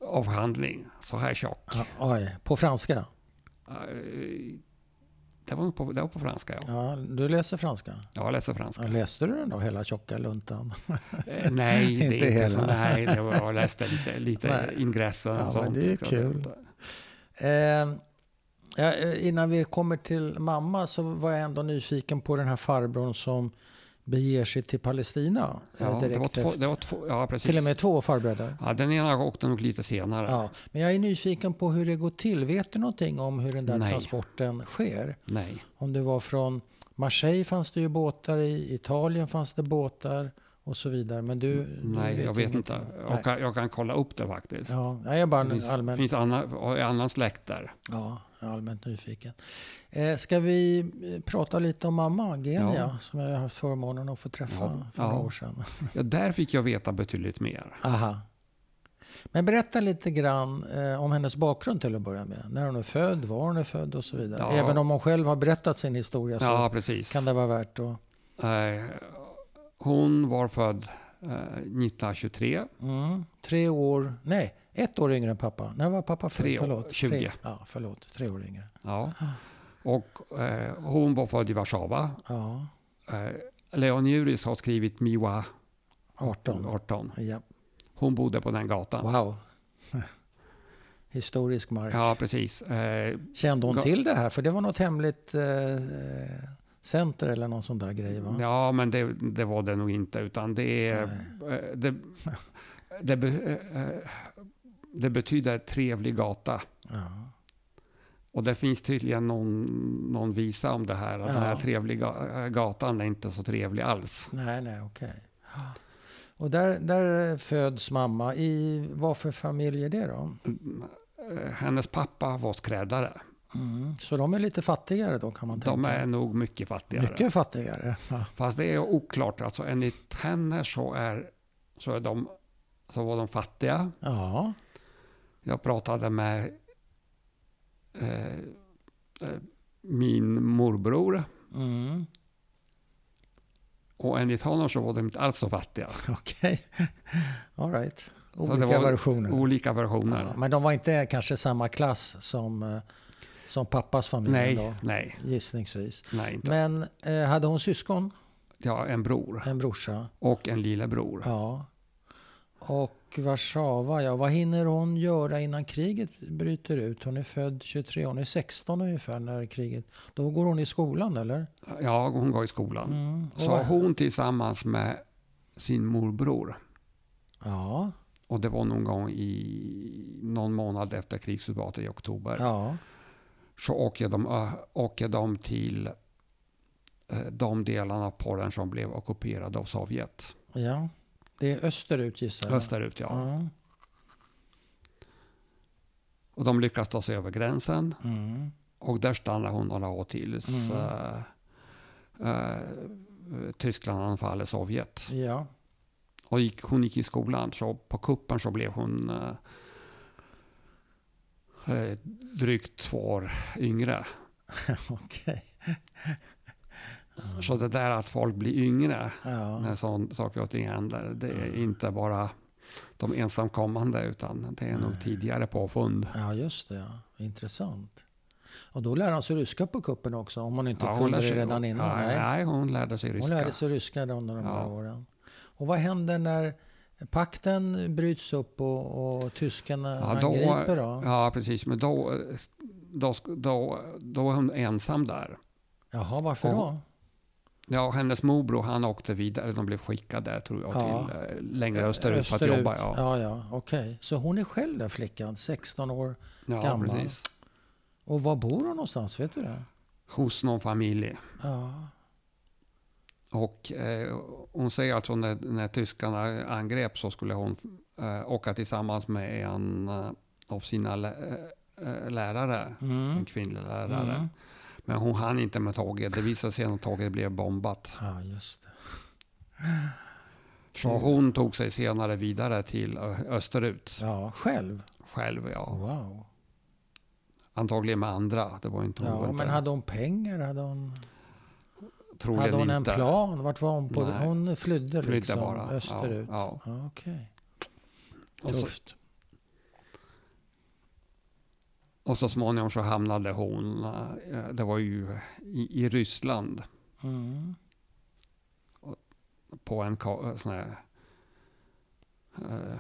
[SPEAKER 2] avhandling, så här tjock.
[SPEAKER 1] Ja, oj, på franska?
[SPEAKER 2] Eh, det, var nog på, det var på franska, ja.
[SPEAKER 1] Ja, du läser franska?
[SPEAKER 2] Jag läser
[SPEAKER 1] Ja,
[SPEAKER 2] franska.
[SPEAKER 1] läste du den då, hela tjocka luntan?
[SPEAKER 2] Eh, nej, det är
[SPEAKER 1] (laughs) Inte
[SPEAKER 2] inte, så.
[SPEAKER 1] hela.
[SPEAKER 2] Nej, det var, jag läste lite,
[SPEAKER 1] (laughs)
[SPEAKER 2] lite
[SPEAKER 1] Nej.
[SPEAKER 2] ingressen
[SPEAKER 1] Ja,
[SPEAKER 2] och
[SPEAKER 1] men
[SPEAKER 2] sånt.
[SPEAKER 1] det är
[SPEAKER 2] liksom.
[SPEAKER 1] kul. Eh, ja, eh, innan vi kommer till mamma så var jag ändå nyfiken på den här farbrorn som beger sig till Palestina. eh,
[SPEAKER 2] Ja, det var
[SPEAKER 1] direkt
[SPEAKER 2] två,
[SPEAKER 1] efter-
[SPEAKER 2] det var två, ja, precis.
[SPEAKER 1] Till och med två farbröder.
[SPEAKER 2] Ja, den ena åkte nog lite senare.
[SPEAKER 1] Ja, men jag är nyfiken på hur det går till. Vet du någonting om hur den där
[SPEAKER 2] Nej.
[SPEAKER 1] transporten sker?
[SPEAKER 2] Nej.
[SPEAKER 1] Om det var från Marseille fanns det ju båtar i, Italien fanns det båtar och så vidare. Men du,
[SPEAKER 2] Nej,
[SPEAKER 1] du vet
[SPEAKER 2] jag vet
[SPEAKER 1] ingenting.
[SPEAKER 2] inte.
[SPEAKER 1] Nej.
[SPEAKER 2] Jag kan, jag kan kolla upp det faktiskt.
[SPEAKER 1] Ja, nej, jag bara
[SPEAKER 2] Det finns,
[SPEAKER 1] allmänt.
[SPEAKER 2] finns annan, annan släkt där.
[SPEAKER 1] Ja, Jag är allmänt nyfiken. Eh, ska vi eh, prata lite om mamma Genia
[SPEAKER 2] Ja.
[SPEAKER 1] som jag har haft förmånen att få träffa
[SPEAKER 2] Ja.
[SPEAKER 1] för några
[SPEAKER 2] Ja.
[SPEAKER 1] år sedan.
[SPEAKER 2] Ja, där fick jag veta betydligt mer.
[SPEAKER 1] Aha. Men berätta lite grann eh, om hennes bakgrund till att börja med. När hon är född, var hon är född och så vidare.
[SPEAKER 2] Ja.
[SPEAKER 1] Även om hon själv har berättat sin historia så
[SPEAKER 2] Ja, precis.
[SPEAKER 1] kan det vara värt att...
[SPEAKER 2] Eh, Hon var född eh, 1923.
[SPEAKER 1] Mm, tre år, nej, ett år yngre än pappa. När var pappa född?
[SPEAKER 2] Tre år,
[SPEAKER 1] förlåt.
[SPEAKER 2] 20.
[SPEAKER 1] Tre, ja, förlåt. Tre år yngre.
[SPEAKER 2] Ja. Och eh, hon var född i Warszawa.
[SPEAKER 1] Ja,
[SPEAKER 2] Eh, Leon Juris har skrivit Miwa
[SPEAKER 1] 18.
[SPEAKER 2] 18.
[SPEAKER 1] Ja.
[SPEAKER 2] Hon bodde på den gatan.
[SPEAKER 1] Wow. (laughs) Historisk mark.
[SPEAKER 2] Ja, precis. Eh,
[SPEAKER 1] Kände hon
[SPEAKER 2] Ga-
[SPEAKER 1] till det här? För det var något hemligt eh, eh, center eller någon sån där grej va?
[SPEAKER 2] Ja, men det, det var det nog inte. Utan det är... eh, Det, det, be, eh, det betyder trevlig gata.
[SPEAKER 1] Ja.
[SPEAKER 2] Och det finns tydligen någon, någon visa om det här. Att den här
[SPEAKER 1] Ja.
[SPEAKER 2] trevliga eh, gatan är inte så trevlig alls.
[SPEAKER 1] Nej, nej, okej. Ja. Och där, där föds mamma. I vad för familj är det då?
[SPEAKER 2] Eh, Hennes pappa var skräddare.
[SPEAKER 1] Mm. Så de är lite fattigare då kan man
[SPEAKER 2] De
[SPEAKER 1] tänka?
[SPEAKER 2] är nog mycket fattigare.
[SPEAKER 1] Mycket fattigare. Ja.
[SPEAKER 2] Fast det är oklart. Alltså, enligt henne så, är, så, är de, så var de fattiga.
[SPEAKER 1] ja.
[SPEAKER 2] Jag pratade med eh, eh, min morbror.
[SPEAKER 1] Mm.
[SPEAKER 2] Och enligt honom så var de inte alls så fattiga.
[SPEAKER 1] Okej. (laughs) All right.
[SPEAKER 2] det
[SPEAKER 1] Olika
[SPEAKER 2] var
[SPEAKER 1] versioner.
[SPEAKER 2] Olika versioner.
[SPEAKER 1] Ja, men de var inte kanske samma klass som, eh, som pappas familj
[SPEAKER 2] nej,
[SPEAKER 1] då?
[SPEAKER 2] nej,
[SPEAKER 1] Gissningsvis.
[SPEAKER 2] nej. Inte.
[SPEAKER 1] Men eh, hade hon syskon?
[SPEAKER 2] Ja, en bror
[SPEAKER 1] En brorsa?
[SPEAKER 2] och en lillebror.
[SPEAKER 1] Ja. Och Warszawa, ja. Vad hinner hon göra innan kriget bryter ut? Hon är född 23, hon är 16 ungefär när kriget... Då går hon i skolan eller?
[SPEAKER 2] Ja, hon går i skolan.
[SPEAKER 1] Mm. Och
[SPEAKER 2] Så
[SPEAKER 1] vad-
[SPEAKER 2] hon tillsammans med sin morbror.
[SPEAKER 1] Ja,
[SPEAKER 2] Och det var någon gång i någon månad efter krigsutbrottet i oktober.
[SPEAKER 1] ja.
[SPEAKER 2] Så åker de, ö, åker de till eh, de delarna av Polen som blev ockuperade av Sovjet.
[SPEAKER 1] ja. Det är österut gissar jag. Mm.
[SPEAKER 2] Österut ja.
[SPEAKER 1] Ja.
[SPEAKER 2] Och de lyckas ta sig över gränsen.
[SPEAKER 1] Mm.
[SPEAKER 2] Och där stannar hon några år tills
[SPEAKER 1] Mm.
[SPEAKER 2] eh, eh, Tyskland anfaller Sovjet.
[SPEAKER 1] ja.
[SPEAKER 2] Och gick, hon gick i skolan, så på kuppen så blev hon eh, eh, drygt två år yngre.
[SPEAKER 1] Okej.
[SPEAKER 2] Så det där att folk blir yngre
[SPEAKER 1] Ja. Mm.
[SPEAKER 2] när sån, saker och ting händer, det är inte bara de ensamkommande, utan det är nog tidigare påfund.
[SPEAKER 1] ja, just det. Ja. Intressant. Och då lär hon sig ryska på kuppen också, om hon inte
[SPEAKER 2] Ja,
[SPEAKER 1] kunde
[SPEAKER 2] lär
[SPEAKER 1] det
[SPEAKER 2] sig-
[SPEAKER 1] redan innan.
[SPEAKER 2] Ja,
[SPEAKER 1] nej.
[SPEAKER 2] nej. hon lärde sig ryska.
[SPEAKER 1] Hon lärde sig ryska då under de här
[SPEAKER 2] Ja.
[SPEAKER 1] åren. Och vad händer när pakten bryts upp och, och tyskarna
[SPEAKER 2] Ja, då-
[SPEAKER 1] angriper då?
[SPEAKER 2] Ja, precis. Men då, då, sk- då, då var hon ensam där.
[SPEAKER 1] Jaha, varför
[SPEAKER 2] Och-
[SPEAKER 1] då?
[SPEAKER 2] Ja, och hennes morbror han åkte vidare. De blev skickade tror jag
[SPEAKER 1] Ja.
[SPEAKER 2] till eh, längre österut, för att jobba. Ja,
[SPEAKER 1] ja, ja okej. Så hon är själv den flickan, 16 år.
[SPEAKER 2] ja,
[SPEAKER 1] gammal.
[SPEAKER 2] precis.
[SPEAKER 1] Och var bor hon någonstans? Vet du det?
[SPEAKER 2] Hos någon familj.
[SPEAKER 1] Ja,
[SPEAKER 2] Och eh, hon säger att hon, när, när tyskarna angrep så skulle hon eh, åka tillsammans med en eh, av sina lä- eh, lärare. En
[SPEAKER 1] mm.
[SPEAKER 2] kvinnlig lärare.
[SPEAKER 1] Mm.
[SPEAKER 2] Men hon hann inte med tåget. Det visade sig att tåget blev bombat.
[SPEAKER 1] ja just det.
[SPEAKER 2] Så hon tog sig senare vidare till ö- österut
[SPEAKER 1] Ja, själv?
[SPEAKER 2] själv. Ja.
[SPEAKER 1] Wow.
[SPEAKER 2] Antagligen med andra. Det var inte hon.
[SPEAKER 1] Ja,
[SPEAKER 2] inte-
[SPEAKER 1] men hade hon pengar? Hade hon,
[SPEAKER 2] troligen
[SPEAKER 1] hade hon en
[SPEAKER 2] inte.
[SPEAKER 1] plan? Vart var hon på?
[SPEAKER 2] Nej.
[SPEAKER 1] Hon flydde
[SPEAKER 2] Flydde
[SPEAKER 1] liksom
[SPEAKER 2] bara. Ja,
[SPEAKER 1] österut?
[SPEAKER 2] ja.
[SPEAKER 1] Ja, okej.
[SPEAKER 2] Och, så,
[SPEAKER 1] Tufft.
[SPEAKER 2] och så småningom så hamnade hon, eh, det var ju i, i Ryssland
[SPEAKER 1] Mm.
[SPEAKER 2] på en ka- sån här eh,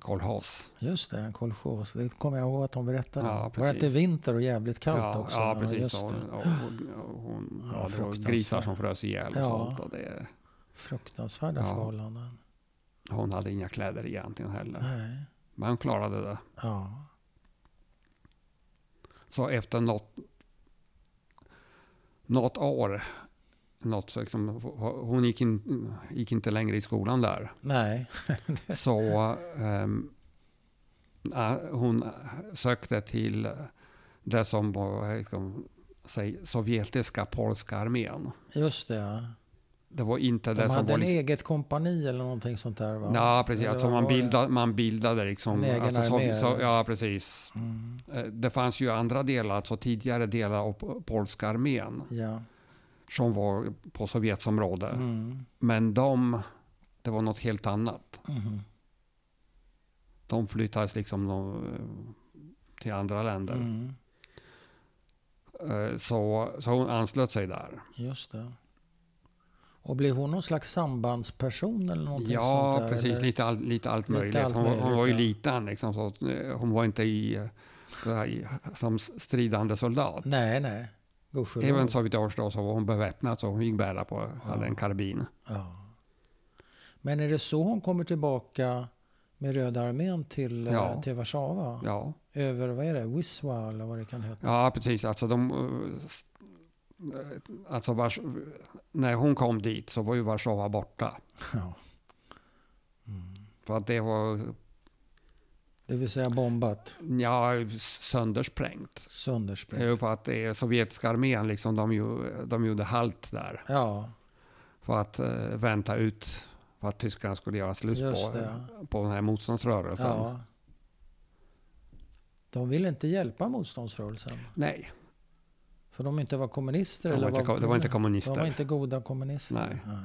[SPEAKER 2] kolhas.
[SPEAKER 1] Just det, en kolchos. Det kommer jag ihåg att hon berättade.
[SPEAKER 2] Ja,
[SPEAKER 1] Var det
[SPEAKER 2] precis.
[SPEAKER 1] inte vinter och jävligt kallt
[SPEAKER 2] ja,
[SPEAKER 1] också?
[SPEAKER 2] ja, precis.
[SPEAKER 1] just
[SPEAKER 2] Ja,
[SPEAKER 1] det.
[SPEAKER 2] och, och, och hon,
[SPEAKER 1] Ja,
[SPEAKER 2] ja, det var
[SPEAKER 1] fruktansvärt.
[SPEAKER 2] grisar som frös ihjäl och
[SPEAKER 1] Ja.
[SPEAKER 2] sånt. Och det,
[SPEAKER 1] Fruktansvärda
[SPEAKER 2] Ja.
[SPEAKER 1] förhållanden.
[SPEAKER 2] hon hade inga kläder egentligen heller.
[SPEAKER 1] Nej.
[SPEAKER 2] Men hon klarade det.
[SPEAKER 1] Ja.
[SPEAKER 2] Så efter något, något år, något, så liksom, hon gick, in, gick inte längre i skolan där.
[SPEAKER 1] Nej.
[SPEAKER 2] Så ehm, ah, hon sökte till det som var liksom, säg, sovjetiska polska armén.
[SPEAKER 1] Just det, ja.
[SPEAKER 2] Det var inte
[SPEAKER 1] De
[SPEAKER 2] det som
[SPEAKER 1] hade
[SPEAKER 2] var...
[SPEAKER 1] en
[SPEAKER 2] Liksom,
[SPEAKER 1] eget kompani eller någonting sånt där va?
[SPEAKER 2] ja, precis.
[SPEAKER 1] Eller
[SPEAKER 2] Alltså
[SPEAKER 1] vad
[SPEAKER 2] man,
[SPEAKER 1] var det?
[SPEAKER 2] bildade, man bildade liksom...
[SPEAKER 1] En egen
[SPEAKER 2] alltså,
[SPEAKER 1] armé,
[SPEAKER 2] så,
[SPEAKER 1] eller?
[SPEAKER 2] ja, precis.
[SPEAKER 1] Mm.
[SPEAKER 2] Eh, Det fanns ju andra delar, alltså tidigare delar av po- polska armén
[SPEAKER 1] Ja.
[SPEAKER 2] som var på Sovjets område.
[SPEAKER 1] Mm.
[SPEAKER 2] Men de, det var något helt annat.
[SPEAKER 1] Mhm.
[SPEAKER 2] De flyttades liksom de, eh, till andra länder.
[SPEAKER 1] Mm.
[SPEAKER 2] Eh, Så, så hon anslöt sig där.
[SPEAKER 1] Just det. Och blev hon någon slags sambandsperson eller någonting sånt
[SPEAKER 2] ja,
[SPEAKER 1] där?
[SPEAKER 2] precis.
[SPEAKER 1] eller?
[SPEAKER 2] Lite, all, lite allt
[SPEAKER 1] Lite
[SPEAKER 2] möjligt.
[SPEAKER 1] allt
[SPEAKER 2] hon, var- hon
[SPEAKER 1] möjligt,
[SPEAKER 2] var ju
[SPEAKER 1] ja.
[SPEAKER 2] liten, liksom, så att, eh, hon var inte i, eh, så här, i, som stridande soldat.
[SPEAKER 1] Nej, nej. Gudskelov.
[SPEAKER 2] Även så vitt jag förstår så var hon beväpnad, så hon gick bära på,
[SPEAKER 1] Ja.
[SPEAKER 2] hade en karbin.
[SPEAKER 1] Ja. Men är det så hon kommer tillbaka med Röda armén till, eh,
[SPEAKER 2] Ja.
[SPEAKER 1] till Warszawa?
[SPEAKER 2] Ja,
[SPEAKER 1] Över, vad är det, Wisła eller vad det kan heta?
[SPEAKER 2] ja precis. Alltså, de, eh, s- eh, alltså vars, när hon kom dit så var ju Warszawa borta.
[SPEAKER 1] Ja. Mm.
[SPEAKER 2] För att det var
[SPEAKER 1] Det vill säga bombat,
[SPEAKER 2] ja, söndersprängt.
[SPEAKER 1] söndersprängt.
[SPEAKER 2] Eh, För att det är sovjetiska armén, liksom, de, ju, de gjorde halt där.
[SPEAKER 1] Ja,
[SPEAKER 2] för att eh, vänta ut vad tyskarna skulle göra slut
[SPEAKER 1] Just
[SPEAKER 2] på,
[SPEAKER 1] det,
[SPEAKER 2] på den här motståndsrörelsen.
[SPEAKER 1] ja. De ville inte hjälpa motståndsrörelsen.
[SPEAKER 2] Nej,
[SPEAKER 1] För de inte var kommunister?
[SPEAKER 2] de var
[SPEAKER 1] eller
[SPEAKER 2] inte, ko- det var inte kommunister.
[SPEAKER 1] De var inte goda kommunister?
[SPEAKER 2] Nej.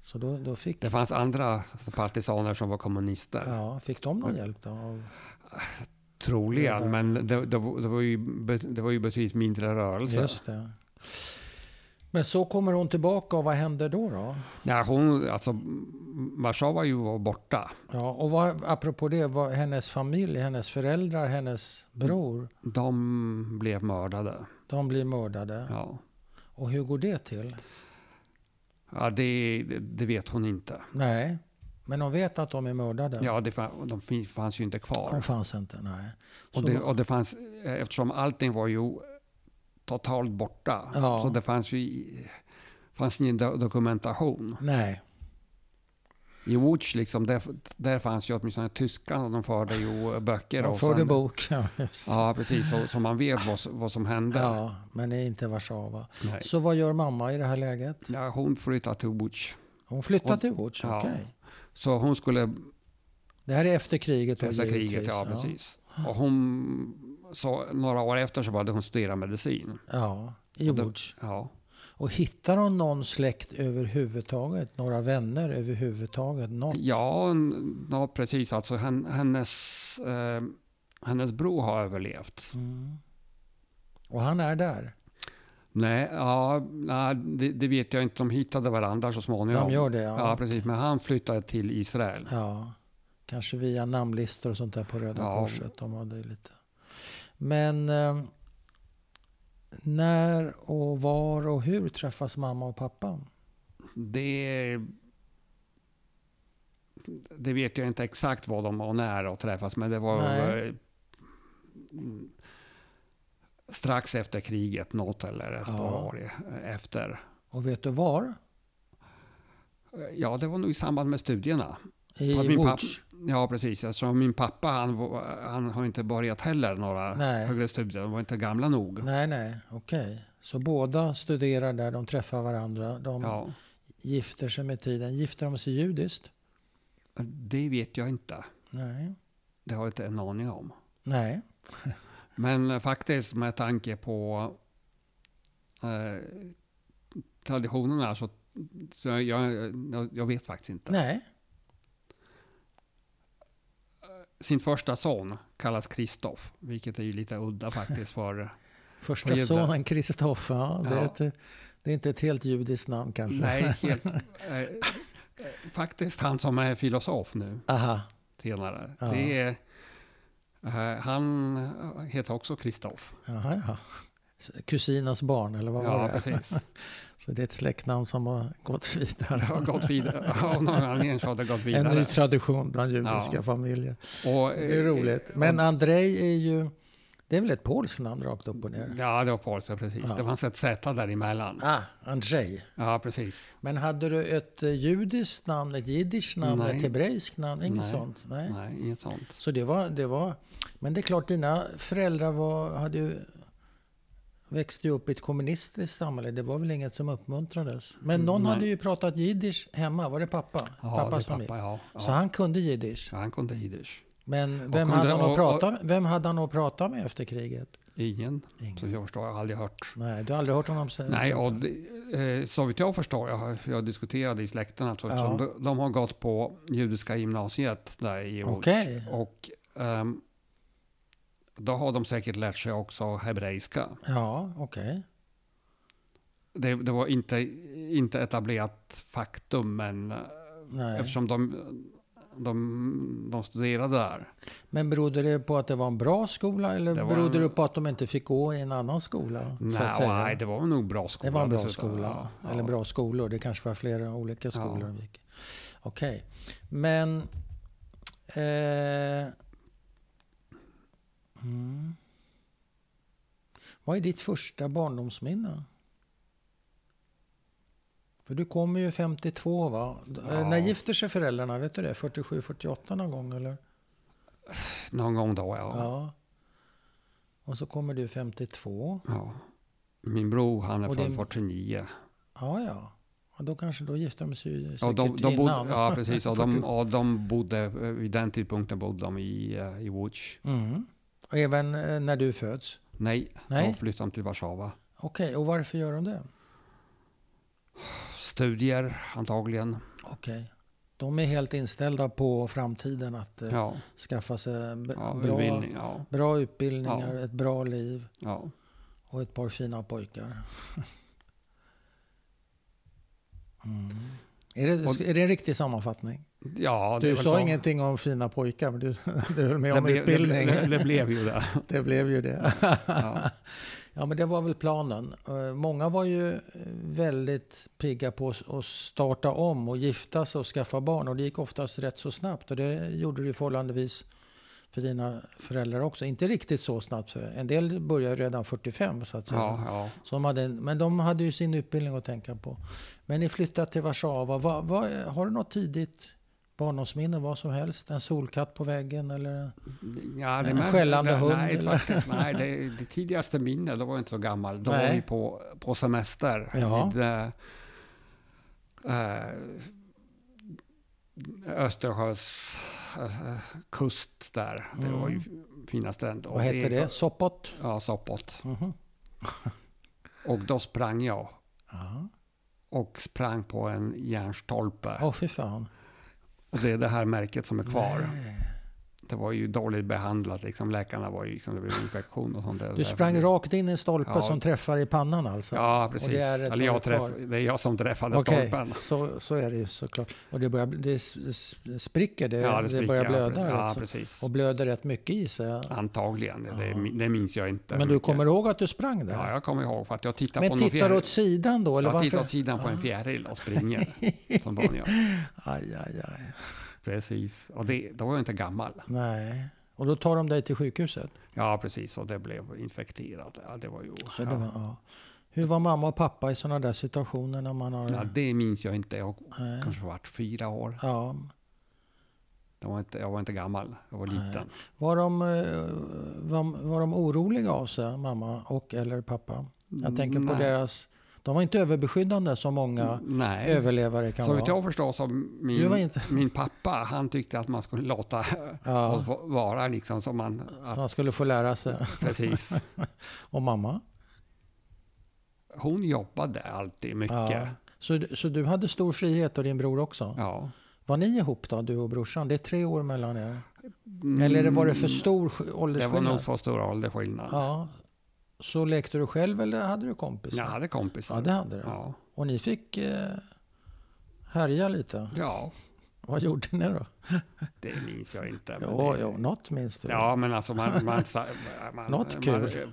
[SPEAKER 1] Så då, då fick,
[SPEAKER 2] Det fanns andra partisaner som var kommunister,
[SPEAKER 1] ja, fick de någon hjälp då? Av,
[SPEAKER 2] troligen,
[SPEAKER 1] Ja.
[SPEAKER 2] men det, det, var- det, var ju, be- det var ju betydligt mindre rörelse.
[SPEAKER 1] just det. Men så kommer hon tillbaka och vad händer då? då?
[SPEAKER 2] Nej, hon, alltså, Warszawa ju var borta.
[SPEAKER 1] Ja, och vad, apropå det, vad, hennes familj, hennes föräldrar, hennes bror,
[SPEAKER 2] De blev mördade.
[SPEAKER 1] de blir mördade.
[SPEAKER 2] Ja.
[SPEAKER 1] Och hur går det till?
[SPEAKER 2] Ja, det, det vet hon inte.
[SPEAKER 1] Nej, men de vet att de är mördade.
[SPEAKER 2] Ja, det, fa- de fin- fanns ju inte kvar.
[SPEAKER 1] De fanns inte, nej.
[SPEAKER 2] Och
[SPEAKER 1] Så
[SPEAKER 2] det,
[SPEAKER 1] vad-
[SPEAKER 2] och det fanns, eh, eftersom allting var ju totalt borta,
[SPEAKER 1] Ja.
[SPEAKER 2] så det fanns ju i- fanns ingen do- dokumentation.
[SPEAKER 1] Nej,
[SPEAKER 2] I Łódź, liksom, där, där fanns ju åtminstone tyskarna, de förde ju böcker.
[SPEAKER 1] de
[SPEAKER 2] och
[SPEAKER 1] förde
[SPEAKER 2] sen-
[SPEAKER 1] bok. (laughs) Ja, just. det.
[SPEAKER 2] Ja, precis. Så, så man vet vad, s- vad som hände.
[SPEAKER 1] ja, men det är inte Warszawa.
[SPEAKER 2] Nej.
[SPEAKER 1] Så vad gör mamma i det här läget?
[SPEAKER 2] Ja, hon flyttade till Łódź.
[SPEAKER 1] Hon flyttade
[SPEAKER 2] Hon-
[SPEAKER 1] till Łódź,
[SPEAKER 2] Ja.
[SPEAKER 1] okej.
[SPEAKER 2] Så hon skulle
[SPEAKER 1] Det här är efter kriget? då,
[SPEAKER 2] efter kriget,
[SPEAKER 1] givetvis,
[SPEAKER 2] ja precis. Och hon, så några år efter så började hon studera medicin.
[SPEAKER 1] Ja, i
[SPEAKER 2] Och då-
[SPEAKER 1] Łódź.
[SPEAKER 2] Ja.
[SPEAKER 1] Och hittar hon någon släkt överhuvudtaget? Några vänner överhuvudtaget? Något?
[SPEAKER 2] Ja, n- ja precis. Alltså, hen, hennes, eh, hennes bror har överlevt.
[SPEAKER 1] Mm. Och han är där?
[SPEAKER 2] Nej, ja, nej det, det vet jag inte. De hittade varandra så småningom.
[SPEAKER 1] De gör det,
[SPEAKER 2] ja.
[SPEAKER 1] ja.
[SPEAKER 2] precis. Men han flyttade till Israel.
[SPEAKER 1] Ja. Kanske via namnlistor och sånt där på Röda
[SPEAKER 2] Ja.
[SPEAKER 1] Korset. De hade ju lite. Men eh, när och var och hur träffas mamma och pappa?
[SPEAKER 2] Det, det vet jag inte exakt vad de och när och träffas, men det var
[SPEAKER 1] Nej.
[SPEAKER 2] eh, mm, strax efter kriget, något eller ett
[SPEAKER 1] Ja.
[SPEAKER 2] par år eh, efter.
[SPEAKER 1] Och vet du var?
[SPEAKER 2] Ja, det var nog i samband med studierna.
[SPEAKER 1] I
[SPEAKER 2] På min
[SPEAKER 1] Łódź?
[SPEAKER 2] pappa- Ja, precis. Eftersom min pappa, han, var- han har inte börjat heller några
[SPEAKER 1] Nej.
[SPEAKER 2] högre studier. De var inte gamla nog.
[SPEAKER 1] Nej, nej, okej. Så båda studerar där, de träffar varandra, de
[SPEAKER 2] Ja,
[SPEAKER 1] gifter sig med tiden. Gifter de sig judiskt?
[SPEAKER 2] det vet jag inte.
[SPEAKER 1] Nej.
[SPEAKER 2] Det har jag inte en aning om.
[SPEAKER 1] Nej.
[SPEAKER 2] Men eh, faktiskt med tanke på eh, traditionerna så, så jag, jag, jag vet faktiskt inte.
[SPEAKER 1] Nej.
[SPEAKER 2] Sin första son kallas Kristoff, vilket är ju lite udda faktiskt för
[SPEAKER 1] Första
[SPEAKER 2] Och judar.
[SPEAKER 1] sonen Kristoffer, ja, det,
[SPEAKER 2] Ja.
[SPEAKER 1] är ett- det är inte ett helt judiskt namn (laughs) kanske.
[SPEAKER 2] Nej, helt. Eh, eh, faktiskt han som är filosof nu
[SPEAKER 1] Aha,
[SPEAKER 2] senare.
[SPEAKER 1] Ja.
[SPEAKER 2] Det är, eh, han heter också Kristoff.
[SPEAKER 1] Jaha, ja. Kusinens barn eller vad var
[SPEAKER 2] Ja,
[SPEAKER 1] det?
[SPEAKER 2] precis.
[SPEAKER 1] (laughs) Så det är ett släktnamn som har gått vidare.
[SPEAKER 2] Det har gått vidare. Av någon anledning så har det gått
[SPEAKER 1] En ny
[SPEAKER 2] vidare.
[SPEAKER 1] tradition bland judiska
[SPEAKER 2] Ja.
[SPEAKER 1] familjer.
[SPEAKER 2] Och, eh,
[SPEAKER 1] Det är roligt. Men Andrei är ju, det är väl ett polskt namn rakt upp och ner?
[SPEAKER 2] eh, Ja, det var polska, precis.
[SPEAKER 1] Ja.
[SPEAKER 2] Det fanns ett Z däremellan.
[SPEAKER 1] Ah, Andrzej.
[SPEAKER 2] Ja, precis.
[SPEAKER 1] Men hade du ett eh, judiskt namn, ett jiddiskt namn,
[SPEAKER 2] Nej.
[SPEAKER 1] ett hebreiskt namn? Inget
[SPEAKER 2] Nej.
[SPEAKER 1] sånt? Nej.
[SPEAKER 2] Nej, inget sånt.
[SPEAKER 1] Så det var, det var... Men det är klart, dina föräldrar var, hade ju växte ju upp i ett kommunistiskt samhälle. Det var väl inget som uppmuntrades. Men någon
[SPEAKER 2] Nej.
[SPEAKER 1] hade ju pratat jiddisch hemma. Var det pappa?
[SPEAKER 2] Ja,
[SPEAKER 1] pappa
[SPEAKER 2] det är
[SPEAKER 1] som gick.
[SPEAKER 2] pappa, ja, ja.
[SPEAKER 1] Så han kunde jiddisch.
[SPEAKER 2] Ja, han kunde jiddisch.
[SPEAKER 1] Men
[SPEAKER 2] Och
[SPEAKER 1] vem
[SPEAKER 2] kunde-
[SPEAKER 1] hade, han
[SPEAKER 2] och-
[SPEAKER 1] att prata, med- vem hade han att prata med efter kriget?
[SPEAKER 2] Ingen,
[SPEAKER 1] Ingen.
[SPEAKER 2] som jag förstår. Jag har aldrig hört.
[SPEAKER 1] Nej, du har aldrig hört honom säga
[SPEAKER 2] Nej,
[SPEAKER 1] sånt
[SPEAKER 2] och
[SPEAKER 1] där.
[SPEAKER 2] det, eh, så vitt jag förstår, jag, har- jag diskuterade i släkten att
[SPEAKER 1] Ja.
[SPEAKER 2] ja. de, de har gått på judiska gymnasiet där i Łódź.
[SPEAKER 1] Okej.
[SPEAKER 2] Och ehm, då har de säkert lärt sig också hebreiska.
[SPEAKER 1] Ja, okej.
[SPEAKER 2] Det, det var inte, inte etablerat faktum, men eh,
[SPEAKER 1] Nej.
[SPEAKER 2] eftersom de, de, de studerade där.
[SPEAKER 1] Men berodde det på att det var en bra skola eller
[SPEAKER 2] Det var
[SPEAKER 1] berodde
[SPEAKER 2] en-
[SPEAKER 1] det på att de inte fick gå i en annan skola? så att
[SPEAKER 2] Nej,
[SPEAKER 1] säga?
[SPEAKER 2] nej, det var nog bra skola.
[SPEAKER 1] Det var en bra
[SPEAKER 2] dessutom.
[SPEAKER 1] skola,
[SPEAKER 2] Ja,
[SPEAKER 1] eller
[SPEAKER 2] ja.
[SPEAKER 1] bra skolor. Det kanske var flera olika skolor
[SPEAKER 2] Ja.
[SPEAKER 1] de gick. i. Okej, men... Eh, mm. Vad är ditt första barndomsminne? För du kommer ju 52 va? Eh, När
[SPEAKER 2] Ja.
[SPEAKER 1] gifter sig föräldrarna? Vet du det? 47-48 någon gång eller?
[SPEAKER 2] Någon gång då, ja. ja.
[SPEAKER 1] Och så kommer du 52.
[SPEAKER 2] Min bror, han är
[SPEAKER 1] Och
[SPEAKER 2] född
[SPEAKER 1] din-
[SPEAKER 2] 49.
[SPEAKER 1] Ja, ja. Och då kanske då gifter de sig ju säkert
[SPEAKER 2] Och de, de bodde,
[SPEAKER 1] innan.
[SPEAKER 2] ja, precis.
[SPEAKER 1] (laughs)
[SPEAKER 2] Och de,
[SPEAKER 1] 47.
[SPEAKER 2] och de bodde, eh, vid den tidpunkten bodde de i, eh, i Łódź.
[SPEAKER 1] Mm. Och även eh, när du föds?
[SPEAKER 2] Nej,
[SPEAKER 1] Nej.
[SPEAKER 2] de flyttade till Warszawa.
[SPEAKER 1] Okej, och varför gör de det?
[SPEAKER 2] Studier, antagligen.
[SPEAKER 1] Okej. De är helt inställda på framtiden, att eh,
[SPEAKER 2] Ja,
[SPEAKER 1] skaffa sig b-
[SPEAKER 2] ja
[SPEAKER 1] bra,
[SPEAKER 2] utbildning. Ja,
[SPEAKER 1] bra utbildningar,
[SPEAKER 2] Ja.
[SPEAKER 1] ett bra liv
[SPEAKER 2] ja.
[SPEAKER 1] och ett par fina
[SPEAKER 2] (laughs)
[SPEAKER 1] pojkar. mm. Är det,
[SPEAKER 2] Och-
[SPEAKER 1] är det en riktig sammanfattning?
[SPEAKER 2] ja det är
[SPEAKER 1] du
[SPEAKER 2] väl
[SPEAKER 1] sa
[SPEAKER 2] så.
[SPEAKER 1] ingenting om fina pojkar, men du, (laughs) du höll med
[SPEAKER 2] det
[SPEAKER 1] om
[SPEAKER 2] blev, det,
[SPEAKER 1] utbildning.
[SPEAKER 2] det, det blev ju det.
[SPEAKER 1] Det blev ju det.
[SPEAKER 2] Ja.
[SPEAKER 1] Ja, men det var väl planen. Eh, Många var ju eh, väldigt pigga på s- att starta om och gifta sig och skaffa barn. Och det gick oftast rätt så snabbt. Och det gjorde det ju förhållandevis för dina föräldrar också. Inte riktigt så snabbt. för En del började redan 45 (laughs) så att säga.
[SPEAKER 2] Ja, ja.
[SPEAKER 1] Så de hade en, men de hade ju sin utbildning att tänka på. Men ni flyttade till Warszawa. Va, va, har du något tidigt barndomsminne? Vad som helst? En solkatt på väggen eller?
[SPEAKER 2] Ja, det
[SPEAKER 1] En
[SPEAKER 2] men-
[SPEAKER 1] skällande
[SPEAKER 2] det,
[SPEAKER 1] hund,
[SPEAKER 2] Nej,
[SPEAKER 1] eller?
[SPEAKER 2] faktiskt, nej det, det tidigaste minnet, då var jag inte så gammal. Då var
[SPEAKER 1] Nej.
[SPEAKER 2] vi på, på semester.
[SPEAKER 1] Ja.
[SPEAKER 2] Vid, eh, eh, Östersjös eh, kust där. Det var ju fina stränder. Och
[SPEAKER 1] Mm. Vad hette det? Sopot?
[SPEAKER 2] Ja, Sopot.
[SPEAKER 1] Mhm.
[SPEAKER 2] Och då sprang jag.
[SPEAKER 1] Ja.
[SPEAKER 2] Och sprang på en järnstolpe.
[SPEAKER 1] Åh fy fan.
[SPEAKER 2] Och det är det här märket som är kvar.
[SPEAKER 1] Nej.
[SPEAKER 2] Det var ju dåligt behandlat. Liksom. Läkarna var ju liksom, det blev infektion och sånt där.
[SPEAKER 1] Du sprang rakt in i en stolpe
[SPEAKER 2] Ja.
[SPEAKER 1] som träffar i pannan alltså?
[SPEAKER 2] Ja, precis.
[SPEAKER 1] det är ett
[SPEAKER 2] Eller jag
[SPEAKER 1] tag kvar.
[SPEAKER 2] träff, det är jag som träffade
[SPEAKER 1] Okej,
[SPEAKER 2] stolpen.
[SPEAKER 1] så, så är det ju såklart. Och det, börjar, det s- s- spricker, det, det,
[SPEAKER 2] spricker,
[SPEAKER 1] börjar
[SPEAKER 2] ja,
[SPEAKER 1] blöda.
[SPEAKER 2] precis. Ja,
[SPEAKER 1] alltså.
[SPEAKER 2] precis.
[SPEAKER 1] Och blöder rätt mycket i sig.
[SPEAKER 2] Antagligen. Det,
[SPEAKER 1] Ja.
[SPEAKER 2] min- det minns jag inte.
[SPEAKER 1] Men du
[SPEAKER 2] mycket.
[SPEAKER 1] kommer ihåg att du sprang där?
[SPEAKER 2] Ja, jag kommer ihåg för att jag tittar på
[SPEAKER 1] Men
[SPEAKER 2] någon
[SPEAKER 1] tittar du
[SPEAKER 2] fjäril.
[SPEAKER 1] åt sidan då? Eller
[SPEAKER 2] jag tittar
[SPEAKER 1] varför? Ah.
[SPEAKER 2] åt sidan på en fjäril
[SPEAKER 1] (laughs)
[SPEAKER 2] och springer. som barn gör.
[SPEAKER 1] Aj, aj, aj.
[SPEAKER 2] Precis. Och det, då var jag inte gammal.
[SPEAKER 1] Nej. Och då tar de dig till sjukhuset?
[SPEAKER 2] Ja, precis. Och det blev infekterat. Ja, det var ju...
[SPEAKER 1] Så
[SPEAKER 2] Ja.
[SPEAKER 1] det, var, ja. Hur var mamma och pappa i sådana där situationer när man har...
[SPEAKER 2] Ja, det minns jag inte. Jag
[SPEAKER 1] Nej.
[SPEAKER 2] kanske varit fyra år.
[SPEAKER 1] Ja.
[SPEAKER 2] Det var inte, jag var inte gammal. Jag var
[SPEAKER 1] Nej.
[SPEAKER 2] liten.
[SPEAKER 1] Var, de, eh, var, var de oroliga av sig, mamma och eller pappa? Jag tänker på
[SPEAKER 2] Mm, Nej. Mm.
[SPEAKER 1] deras... De var inte överbeskyddande som många
[SPEAKER 2] Nej.
[SPEAKER 1] överlevare kan
[SPEAKER 2] Så vitt
[SPEAKER 1] vara.
[SPEAKER 2] jag förstår så min,
[SPEAKER 1] Du var inte-
[SPEAKER 2] min pappa, han tyckte att man skulle låta
[SPEAKER 1] Ja,
[SPEAKER 2] oss va- vara liksom som man...
[SPEAKER 1] (laughs)
[SPEAKER 2] Att,
[SPEAKER 1] de skulle få lära sig.
[SPEAKER 2] precis.
[SPEAKER 1] Och mamma?
[SPEAKER 2] Hon jobbade alltid mycket.
[SPEAKER 1] Ja.
[SPEAKER 2] Ja.
[SPEAKER 1] Så, så du hade stor frihet och din bror också? Var ni ihop då, du och brorsan? Det är tre år mellan er. Eller var det för stor sk-
[SPEAKER 2] Mm. Det var
[SPEAKER 1] åldersskillnad?
[SPEAKER 2] nog för stor åldersskillnad.
[SPEAKER 1] Ja. Så lekte du själv eller hade du kompisar?
[SPEAKER 2] Jag hade kompisar.
[SPEAKER 1] ja det hade du.
[SPEAKER 2] ja.
[SPEAKER 1] Och ni fick eh, härja lite?
[SPEAKER 2] ja,
[SPEAKER 1] Vad gjorde ni då?
[SPEAKER 2] det minns jag inte. men
[SPEAKER 1] Jo,
[SPEAKER 2] det,
[SPEAKER 1] jo, något minns du.
[SPEAKER 2] Ja, men alltså man... man, sa- man
[SPEAKER 1] (laughs) Något
[SPEAKER 2] man-
[SPEAKER 1] kul.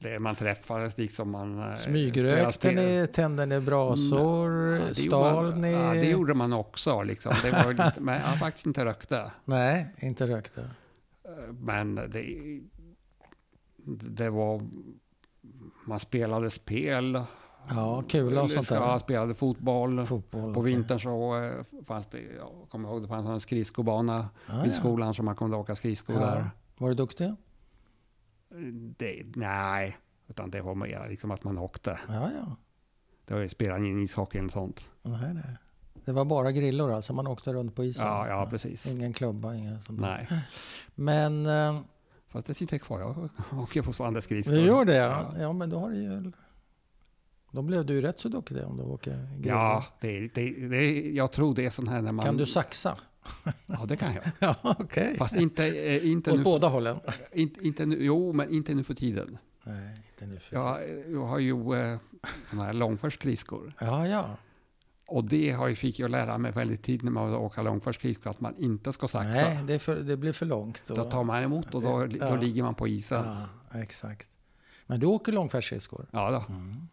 [SPEAKER 2] det, man träffades liksom, man... eh, spelade
[SPEAKER 1] Smygrökte
[SPEAKER 2] spel. Mm.
[SPEAKER 1] ni, tände ni brasor,
[SPEAKER 2] Ja, det
[SPEAKER 1] stal
[SPEAKER 2] gjorde, man-
[SPEAKER 1] ni?
[SPEAKER 2] Ja, det gjorde man också. Liksom. Det var ju lite, men jag faktiskt inte rökte.
[SPEAKER 1] Nej, inte rökte.
[SPEAKER 2] Men det, det var... Man spelade spel.
[SPEAKER 1] Ja, kula och sånt där.
[SPEAKER 2] Ja, spelade fotboll.
[SPEAKER 1] Fotboll.
[SPEAKER 2] På
[SPEAKER 1] okej.
[SPEAKER 2] vintern så eh, fanns det, jag kommer ihåg, det fanns en skridskobana
[SPEAKER 1] Ah,
[SPEAKER 2] vid
[SPEAKER 1] ja.
[SPEAKER 2] skolan som man kunde åka skridskor
[SPEAKER 1] Ja.
[SPEAKER 2] där.
[SPEAKER 1] Var du duktig?
[SPEAKER 2] Det, nej, Utan det var mer liksom att man åkte.
[SPEAKER 1] Ja, ja.
[SPEAKER 2] Det var ju spelade ingen ishockey eller sånt.
[SPEAKER 1] Nej, nej. Det var bara grillor alltså, man åkte runt på isen.
[SPEAKER 2] Ja, ja precis.
[SPEAKER 1] Ingen klubba, inga sånt där.
[SPEAKER 2] Nej,
[SPEAKER 1] Men eh,
[SPEAKER 2] fast det sitter kvar. Jag (laughs) åker på Svandes skridskor.
[SPEAKER 1] du gör det ja. ja. men då har du ju... Då blev du ju rätt så duktig om du åker grillor.
[SPEAKER 2] Ja, det, är- det, det, är- jag tror det är sån här när man...
[SPEAKER 1] Kan du saxa?
[SPEAKER 2] (laughs) Ja, det kan jag.
[SPEAKER 1] ja, okej.
[SPEAKER 2] Fast inte, eh, inte,
[SPEAKER 1] Åt
[SPEAKER 2] nu,
[SPEAKER 1] båda hållen?
[SPEAKER 2] inte, inte nu. Jo, men inte nu för tiden.
[SPEAKER 1] Nej, inte nu för
[SPEAKER 2] Jag, jag har ju eh, såna här långfärdsskridskor.
[SPEAKER 1] Ja, ja.
[SPEAKER 2] Och det har jag, fick jag lära mig väldigt tidigt när man åker långfärdsskridskor, att man inte ska saxa.
[SPEAKER 1] Nej, det, är för, det blir för långt.
[SPEAKER 2] Då tar man emot och då,
[SPEAKER 1] Ja.
[SPEAKER 2] då ligger man på isen. Ja,
[SPEAKER 1] ja, exakt. Men du åker långfärdsskridskor?
[SPEAKER 2] då.
[SPEAKER 1] Mm.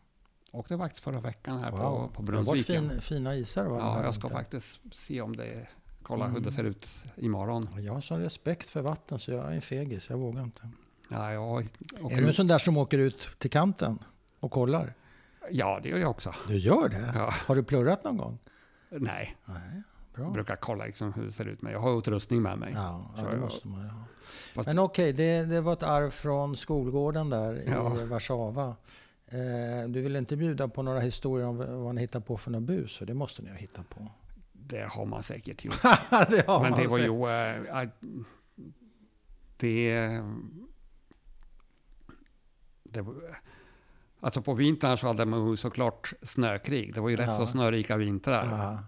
[SPEAKER 2] åkte faktiskt förra veckan här
[SPEAKER 1] Wow.
[SPEAKER 2] på, på
[SPEAKER 1] Det har varit
[SPEAKER 2] Brunnsviken.
[SPEAKER 1] fin, fina isar va?
[SPEAKER 2] Ja, jag ska
[SPEAKER 1] Inte.
[SPEAKER 2] faktiskt se om det, kolla hur
[SPEAKER 1] Mm.
[SPEAKER 2] det ser ut imorgon.
[SPEAKER 1] Ja, Jag har sån respekt för vatten så jag är en fegis, jag vågar inte.
[SPEAKER 2] Ja, jag, och,
[SPEAKER 1] Är du en sån där som åker ut till kanten och kollar?
[SPEAKER 2] ja, det gör jag också.
[SPEAKER 1] Du gör det?
[SPEAKER 2] Ja.
[SPEAKER 1] Har du plurrat någon gång?
[SPEAKER 2] Nej,
[SPEAKER 1] Nej,
[SPEAKER 2] jag
[SPEAKER 1] bra.
[SPEAKER 2] brukar kolla liksom hur det ser ut. Men jag har utrustning med mig.
[SPEAKER 1] Ja, ja,
[SPEAKER 2] Så
[SPEAKER 1] det
[SPEAKER 2] jag-
[SPEAKER 1] måste man ju ha.
[SPEAKER 2] Fast-
[SPEAKER 1] Men okej, det, det var ett arv från skolgården där
[SPEAKER 2] Ja.
[SPEAKER 1] i Warszawa. Eh, du vill inte bjuda på några historier om vad ni hittar på för några bus? För det måste ni ha hittat på.
[SPEAKER 2] Det har man säkert gjort.
[SPEAKER 1] det har
[SPEAKER 2] men
[SPEAKER 1] man
[SPEAKER 2] (laughs) det var
[SPEAKER 1] sett.
[SPEAKER 2] ju... eh, att- det... det var- Alltså på vintern så hade man ju såklart snökrig. Det var ju rätt
[SPEAKER 1] Ja.
[SPEAKER 2] så snörika vintrar.
[SPEAKER 1] Ja.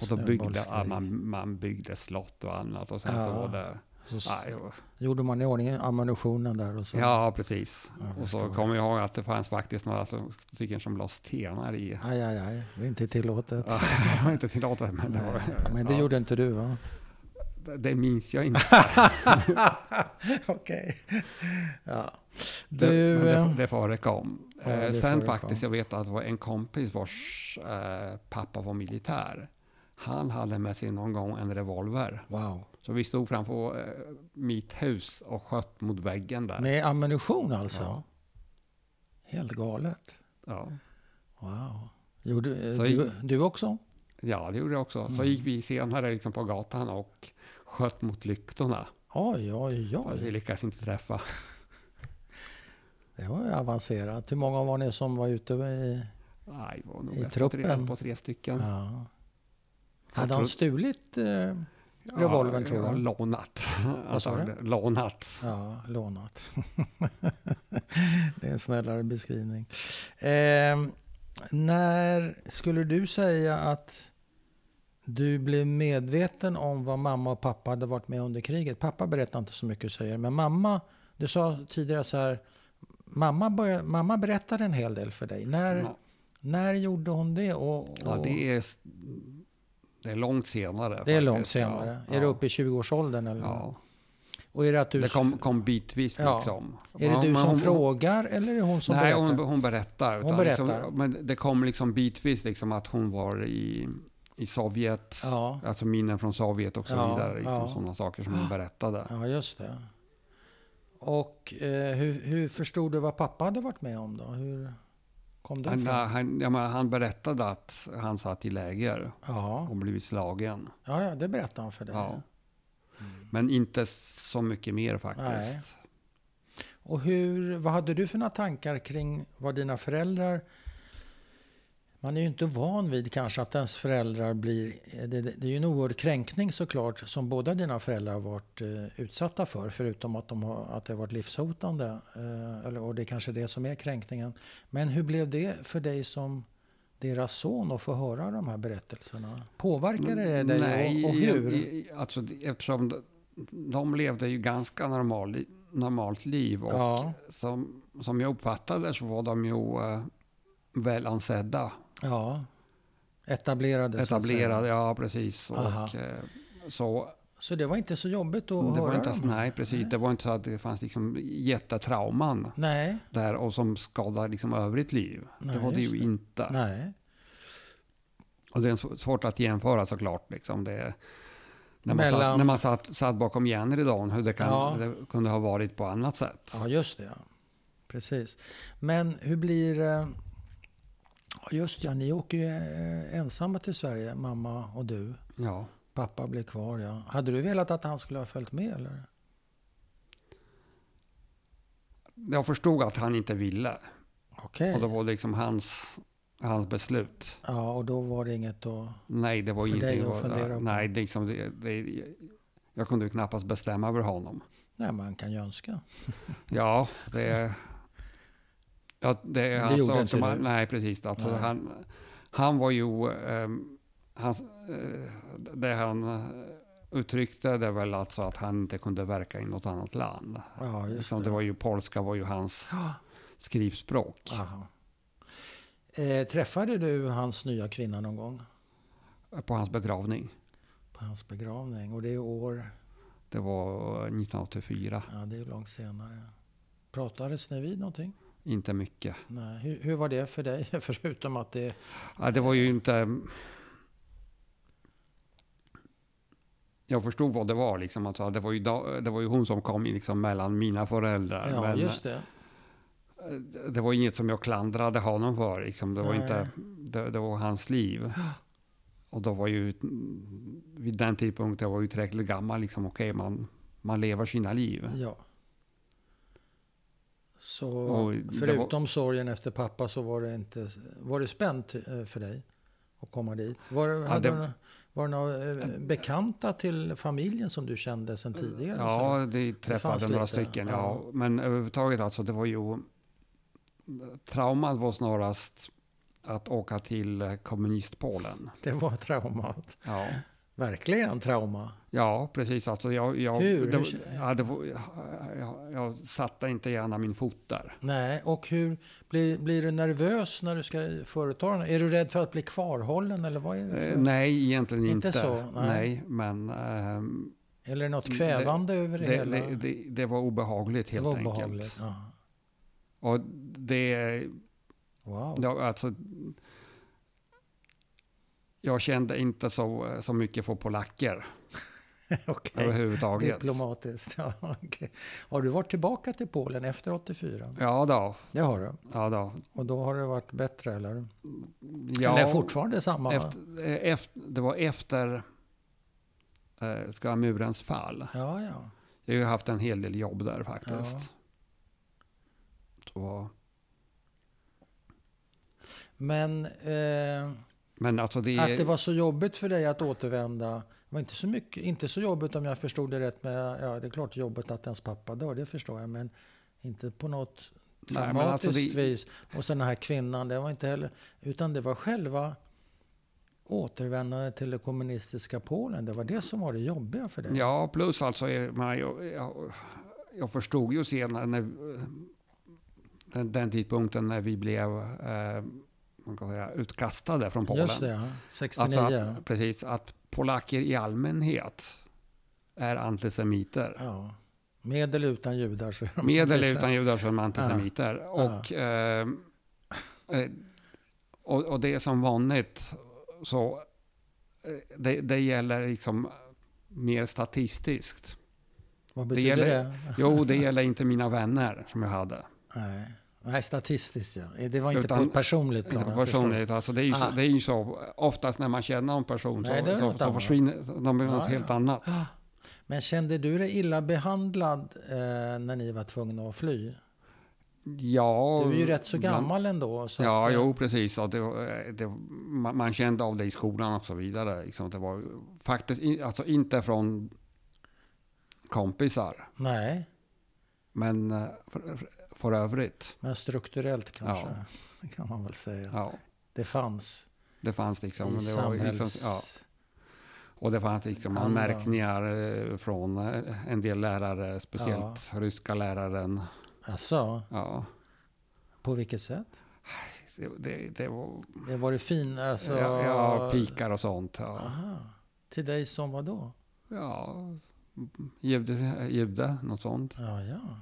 [SPEAKER 2] Och då byggde ja,
[SPEAKER 1] Snöbollskrig.
[SPEAKER 2] man, man byggde slott och annat. Och sen
[SPEAKER 1] Ja.
[SPEAKER 2] så var det...
[SPEAKER 1] Så s-
[SPEAKER 2] Nej, och-
[SPEAKER 1] gjorde man i ordning ammunitionen där och så.
[SPEAKER 2] ja, precis.
[SPEAKER 1] Ja, jag
[SPEAKER 2] och så
[SPEAKER 1] förstår.
[SPEAKER 2] kommer jag ihåg att det fanns faktiskt några som, stycken som la stenar i.
[SPEAKER 1] Aj, aj, aj. Det är inte tillåtet.
[SPEAKER 2] (laughs) Ja, det var inte tillåtet, men det var...
[SPEAKER 1] Nej, Men det
[SPEAKER 2] ja,
[SPEAKER 1] gjorde inte du
[SPEAKER 2] (laughs)
[SPEAKER 1] va?
[SPEAKER 2] det- det minns jag
[SPEAKER 1] (laughs)
[SPEAKER 2] inte.
[SPEAKER 1] Okej. Ja.
[SPEAKER 2] Det,
[SPEAKER 1] Du,
[SPEAKER 2] men det,
[SPEAKER 1] eh,
[SPEAKER 2] det förekom.
[SPEAKER 1] ja, det
[SPEAKER 2] eh, sen
[SPEAKER 1] förekom.
[SPEAKER 2] faktiskt, jag vet att det var en kompis vars eh, pappa var militär. Han hade med sig någon gång en revolver.
[SPEAKER 1] Wow.
[SPEAKER 2] Så vi stod framför eh, mitt hus och sköt mot väggen där.
[SPEAKER 1] Med ammunition alltså?
[SPEAKER 2] Ja.
[SPEAKER 1] Helt galet.
[SPEAKER 2] Ja.
[SPEAKER 1] Wow. Gjorde, eh,
[SPEAKER 2] Så
[SPEAKER 1] du, du också?
[SPEAKER 2] ja, det gjorde jag också. Så
[SPEAKER 1] Mm.
[SPEAKER 2] gick vi senare liksom på gatan och sköt mot lyktorna. Alltså,
[SPEAKER 1] Oj, oj,
[SPEAKER 2] Vi
[SPEAKER 1] oj.
[SPEAKER 2] lyckades inte träffa.
[SPEAKER 1] Det var ju avancerat. Hur många var ni som var ute? I,
[SPEAKER 2] Nej, det var nog
[SPEAKER 1] I
[SPEAKER 2] ett på, tre,
[SPEAKER 1] truppen?
[SPEAKER 2] ett på tre stycken.
[SPEAKER 1] ja.
[SPEAKER 2] Folk
[SPEAKER 1] Hade han
[SPEAKER 2] trodde-
[SPEAKER 1] stulit? Eh, revolvern, tror
[SPEAKER 2] ja,
[SPEAKER 1] du?
[SPEAKER 2] Lånat.
[SPEAKER 1] Vad sa du?
[SPEAKER 2] Antagligen. Lånat.
[SPEAKER 1] ja, lånat. det är en snällare beskrivning. Ehm, när skulle du säga att du blev medveten om vad mamma och pappa hade varit med under kriget? Pappa berättar inte så mycket, säger men mamma, du sa tidigare så här, mamma, började, mamma berättade en hel del för dig. När,
[SPEAKER 2] Ja.
[SPEAKER 1] när gjorde hon det? Och, och,
[SPEAKER 2] Ja, det är, det är långt senare.
[SPEAKER 1] det är långt
[SPEAKER 2] faktiskt.
[SPEAKER 1] senare.
[SPEAKER 2] Ja,
[SPEAKER 1] Är det
[SPEAKER 2] ja.
[SPEAKER 1] uppe i 20-årsåldern? Eller?
[SPEAKER 2] Ja,
[SPEAKER 1] Och är det att du...
[SPEAKER 2] det kom, kom bitvis
[SPEAKER 1] Ja.
[SPEAKER 2] liksom.
[SPEAKER 1] Är det
[SPEAKER 2] Men-
[SPEAKER 1] du
[SPEAKER 2] men
[SPEAKER 1] som
[SPEAKER 2] hon-
[SPEAKER 1] frågar eller är det hon som
[SPEAKER 2] Nej,
[SPEAKER 1] berättar?
[SPEAKER 2] hon, hon berättar.
[SPEAKER 1] Hon
[SPEAKER 2] utan
[SPEAKER 1] berättar.
[SPEAKER 2] Liksom, men det kom liksom bitvis liksom att hon var i, i Sovjet,
[SPEAKER 1] Ja,
[SPEAKER 2] alltså minnen från Sovjet och så
[SPEAKER 1] Ja,
[SPEAKER 2] vidare. Liksom,
[SPEAKER 1] ja.
[SPEAKER 2] Sådana saker som hon berättade.
[SPEAKER 1] ja just det. Och eh, hur, hur förstod du vad pappa hade varit med om då? Hur kom det
[SPEAKER 2] Han,
[SPEAKER 1] ifrån?
[SPEAKER 2] han, jag menar, han berättade att han satt i läger
[SPEAKER 1] Ja.
[SPEAKER 2] och blivit slagen.
[SPEAKER 1] Ja, ja, det berättade han för dig.
[SPEAKER 2] Ja. Men inte så mycket mer faktiskt.
[SPEAKER 1] Nej. Och hur, vad hade du för några tankar kring vad dina föräldrar... Man är ju inte van vid kanske att ens föräldrar blir... Det, det är ju en oerhörd kränkning såklart som båda dina föräldrar har varit eh, utsatta för. Förutom att, de har, att det har varit livshotande. Eh, eller, och det är kanske det som är kränkningen. Men hur blev det för dig som deras son att få höra de här berättelserna? Påverkade det dig
[SPEAKER 2] Mm, Nej,
[SPEAKER 1] och, och hur?
[SPEAKER 2] i- i- Alltså, det- eftersom de, de levde ju ganska normal, normalt liv och
[SPEAKER 1] ja,
[SPEAKER 2] som, som jag uppfattade så var de ju eh, välansedda,
[SPEAKER 1] ja. Etablerade. så att säga.
[SPEAKER 2] etablerade, ja precis.
[SPEAKER 1] Aha.
[SPEAKER 2] Och, eh, så
[SPEAKER 1] Så det var inte så jobbigt att
[SPEAKER 2] det
[SPEAKER 1] höra
[SPEAKER 2] var inte,
[SPEAKER 1] dem?
[SPEAKER 2] nej, precis, det var inte så att det fanns liksom jättetrauman
[SPEAKER 1] Nej,
[SPEAKER 2] där och som skadar liksom övrigt liv.
[SPEAKER 1] Nej,
[SPEAKER 2] det var det
[SPEAKER 1] just
[SPEAKER 2] ju
[SPEAKER 1] det.
[SPEAKER 2] inte.
[SPEAKER 1] nej.
[SPEAKER 2] Och det är sv- svårt att jämföra såklart. Liksom. Det, när man,
[SPEAKER 1] Mellan-
[SPEAKER 2] satt, när man satt, satt bakom järnridån, hur det, kan,
[SPEAKER 1] Ja.
[SPEAKER 2] det kunde ha varit på annat sätt.
[SPEAKER 1] Ja, just det. Ja. Precis. Men hur blir det? Just ja, ni åker ju eh, ensamma till Sverige, mamma och du.
[SPEAKER 2] Ja.
[SPEAKER 1] Pappa blev kvar, ja. Hade du velat att han skulle ha följt med eller?
[SPEAKER 2] Jag förstod att han inte ville.
[SPEAKER 1] Okej.
[SPEAKER 2] Och då var det liksom hans, hans beslut.
[SPEAKER 1] Ja, och då var det inget då.
[SPEAKER 2] Nej, det var
[SPEAKER 1] För dig
[SPEAKER 2] ingenting
[SPEAKER 1] att fundera på.
[SPEAKER 2] Nej, det liksom, det, det, jag kunde ju knappast bestämma över honom.
[SPEAKER 1] Nej, man kan ju önska.
[SPEAKER 2] Ja, det... Ja, det,
[SPEAKER 1] det
[SPEAKER 2] han
[SPEAKER 1] gjorde
[SPEAKER 2] sa
[SPEAKER 1] inte
[SPEAKER 2] också, man,
[SPEAKER 1] du.
[SPEAKER 2] nej, precis. Alltså,
[SPEAKER 1] Nej.
[SPEAKER 2] Han, han var ju... ehm, hans, eh, det han uttryckte det väl alltså att han inte kunde verka i något annat land.
[SPEAKER 1] Ja, just
[SPEAKER 2] Liksom, det var ju, polska var ju hans
[SPEAKER 1] Ja.
[SPEAKER 2] skrivspråk.
[SPEAKER 1] Aha. Eh, träffade du hans nya kvinna någon gång
[SPEAKER 2] På hans begravning.
[SPEAKER 1] på hans begravning? Och det är år,
[SPEAKER 2] Det var eh, 1984.
[SPEAKER 1] ja det är långt senare. Pratades ni vid någonting?
[SPEAKER 2] Inte mycket.
[SPEAKER 1] Nej. Hur, hur var det för dig? (laughs) Förutom att det...
[SPEAKER 2] Ja, det var ju inte... Jag förstod vad det var. Liksom. Alltså, det, var ju da, det var ju hon som kom in liksom, mellan mina föräldrar.
[SPEAKER 1] Ja,
[SPEAKER 2] men
[SPEAKER 1] just det.
[SPEAKER 2] eh, det var inget som jag klandrade honom för. Liksom. Det, var
[SPEAKER 1] Nej.
[SPEAKER 2] inte, det, det var hans liv. Och då var ju, vid den tidpunkten jag var ju tillräckligt gammal. Liksom, Okej, man, man lever sina liv.
[SPEAKER 1] Ja. Så
[SPEAKER 2] Och det var-
[SPEAKER 1] förutom sorgen efter pappa så var det inte... Var det spänt eh, för dig att komma dit? Var, hade
[SPEAKER 2] det-
[SPEAKER 1] du nå- var det några eh, bekanta till familjen som du kände sedan tidigare?
[SPEAKER 2] Ja, det träffade
[SPEAKER 1] fanns
[SPEAKER 2] några
[SPEAKER 1] lite,
[SPEAKER 2] stycken. Ja.
[SPEAKER 1] ja.
[SPEAKER 2] Men överhuvudtaget alltså, det var ju... Traumat var snarast att åka till eh, kommunistpolen.
[SPEAKER 1] Det var traumat.
[SPEAKER 2] Ja,
[SPEAKER 1] Verkligen trauma.
[SPEAKER 2] ja precis. Alltså, jag, jag,
[SPEAKER 1] Hur?
[SPEAKER 2] Det,
[SPEAKER 1] Hur-
[SPEAKER 2] ja, det var, jag, jag, jag satte inte gärna min fot där.
[SPEAKER 1] Nej, och hur blir, blir du nervös när du ska företa den? Är du rädd för att bli kvarhållen eller vad är det för?
[SPEAKER 2] Eh, nej, egentligen
[SPEAKER 1] Inte
[SPEAKER 2] inte.
[SPEAKER 1] så, nej.
[SPEAKER 2] Nej, men ehm,
[SPEAKER 1] Eller är det något kvävande över det,
[SPEAKER 2] det,
[SPEAKER 1] hela?
[SPEAKER 2] det, det, det var obehagligt
[SPEAKER 1] Det
[SPEAKER 2] helt
[SPEAKER 1] var
[SPEAKER 2] enkelt.
[SPEAKER 1] obehagligt. Ja.
[SPEAKER 2] Och det
[SPEAKER 1] Wow.
[SPEAKER 2] Ja, alltså, jag kände inte så, så mycket för polacker
[SPEAKER 1] Okej.
[SPEAKER 2] överhuvudtaget.
[SPEAKER 1] Diplomatiskt. (laughs) Ja, okej. Har du varit tillbaka till Polen efter 84?
[SPEAKER 2] Ja då,
[SPEAKER 1] Det har du.
[SPEAKER 2] ja då.
[SPEAKER 1] Och då har det varit bättre eller?
[SPEAKER 2] Ja,
[SPEAKER 1] eller fortfarande samma? va?
[SPEAKER 2] Efter, eh, efter, det var efter eh, Ska murens fall.
[SPEAKER 1] Ja, ja.
[SPEAKER 2] Jag har ju haft en hel del jobb där faktiskt. Så,
[SPEAKER 1] Men eh,
[SPEAKER 2] men alltså det,
[SPEAKER 1] att det var så jobbigt för dig att återvända. Det var inte så, mycket, inte så jobbigt om jag förstod det rätt. Men ja, det är klart jobbigt att ens pappa dör, det förstår jag. Men inte på något
[SPEAKER 2] Nej, men
[SPEAKER 1] traumatiskt
[SPEAKER 2] alltså det-
[SPEAKER 1] vis. Och sen den här kvinnan, det var inte heller... Utan det var själva återvändandet till det kommunistiska Polen. Det var det som var det jobbiga för dig.
[SPEAKER 2] Ja, plus alltså, eh, man, jag, jag, jag förstod ju senare, när, eh, den, den tidpunkten när vi blev eh, man kan säga, utkastade från Polen.
[SPEAKER 1] Just det, ja. 69.
[SPEAKER 2] Alltså att, precis, att polacker i allmänhet är antisemiter.
[SPEAKER 1] ja. Med eller utan judar. Så är de
[SPEAKER 2] Med eller
[SPEAKER 1] vissa.
[SPEAKER 2] utan judar så är de antisemiter. Och, eh, eh, och, och det är som vanligt, så eh, det, det gäller liksom mer statistiskt.
[SPEAKER 1] Vad
[SPEAKER 2] det
[SPEAKER 1] betyder det?
[SPEAKER 2] gäller- Jo, det gäller inte mina vänner som jag hade.
[SPEAKER 1] Nej. Nej, statistiskt ja. Eh, Det var inte
[SPEAKER 2] Utan-
[SPEAKER 1] på ett personligt plan. jag förstår.
[SPEAKER 2] Personligt, alltså det, är ju så,
[SPEAKER 1] Ah.
[SPEAKER 2] det är ju så, oftast när man känner en person
[SPEAKER 1] Nej, det är
[SPEAKER 2] så, så,
[SPEAKER 1] något
[SPEAKER 2] så
[SPEAKER 1] annat.
[SPEAKER 2] försvinner så- de blir
[SPEAKER 1] Ja,
[SPEAKER 2] något
[SPEAKER 1] ja.
[SPEAKER 2] helt annat.
[SPEAKER 1] Ah. Men kände du dig illa behandlad eh, när ni var tvungna att fly?
[SPEAKER 2] Ja,
[SPEAKER 1] Du är ju rätt så
[SPEAKER 2] bland-
[SPEAKER 1] gammal ändå. Så
[SPEAKER 2] Ja,
[SPEAKER 1] att, eh,
[SPEAKER 2] jo precis. Och det, eh, det, man, man kände av det i skolan och så vidare. Liksom, det var ju faktiskt i- alltså inte från kompisar,
[SPEAKER 1] Nej,
[SPEAKER 2] men eh, för, för- för övrigt.
[SPEAKER 1] men strukturellt kanske. (laughs) Det kan man väl säga.
[SPEAKER 2] Ja,
[SPEAKER 1] Det fanns
[SPEAKER 2] det fanns liksom...
[SPEAKER 1] i
[SPEAKER 2] det var ju
[SPEAKER 1] samhälls...
[SPEAKER 2] liksom ja. Och det fanns liksom
[SPEAKER 1] Andra.
[SPEAKER 2] anmärkningar eh, från eh, en del lärare, speciellt ryska läraren.
[SPEAKER 1] Alltså,
[SPEAKER 2] Ja,
[SPEAKER 1] på vilket sätt? Eh,
[SPEAKER 2] det, det, det var
[SPEAKER 1] Var det fin? Alltså,
[SPEAKER 2] ja, ja, pikar och sånt. Ja,
[SPEAKER 1] Aha. Till dig som var då?
[SPEAKER 2] ja jude, jude, något sånt.
[SPEAKER 1] Ja, ja.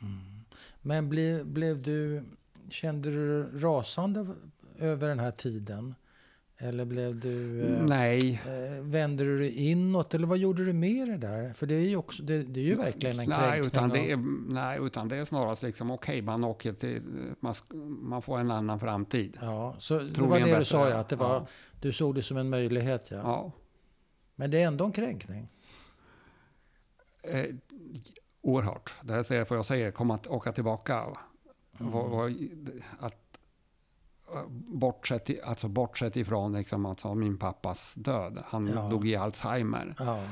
[SPEAKER 1] Mm. Men blev, blev du, kände du rasande över den här tiden? Eller blev du, eh,
[SPEAKER 2] Nej.
[SPEAKER 1] eh, vände du dig inåt? Eller vad gjorde du med det där? För det är ju, också, det, det är ju verkligen en
[SPEAKER 2] nej,
[SPEAKER 1] kränkning.
[SPEAKER 2] utan det
[SPEAKER 1] av-
[SPEAKER 2] är, nej, utan det är snarast liksom okej, man åker till, man, sk- man får en annan framtid.
[SPEAKER 1] Ja, så det
[SPEAKER 2] Troligen
[SPEAKER 1] var det du
[SPEAKER 2] bättre,
[SPEAKER 1] sa ja, att det var,
[SPEAKER 2] ja.
[SPEAKER 1] du såg det som en möjlighet ja.
[SPEAKER 2] Ja.
[SPEAKER 1] Men det är ändå en kränkning.
[SPEAKER 2] Eh, oerhört. Det här säger, för jag säger, kom att åka tillbaka.
[SPEAKER 1] Mm.
[SPEAKER 2] Vad- vad- Att, bortsett, i- alltså bortsett ifrån liksom, alltså min pappas död. Han
[SPEAKER 1] Ja.
[SPEAKER 2] dog i Alzheimer.
[SPEAKER 1] Ja.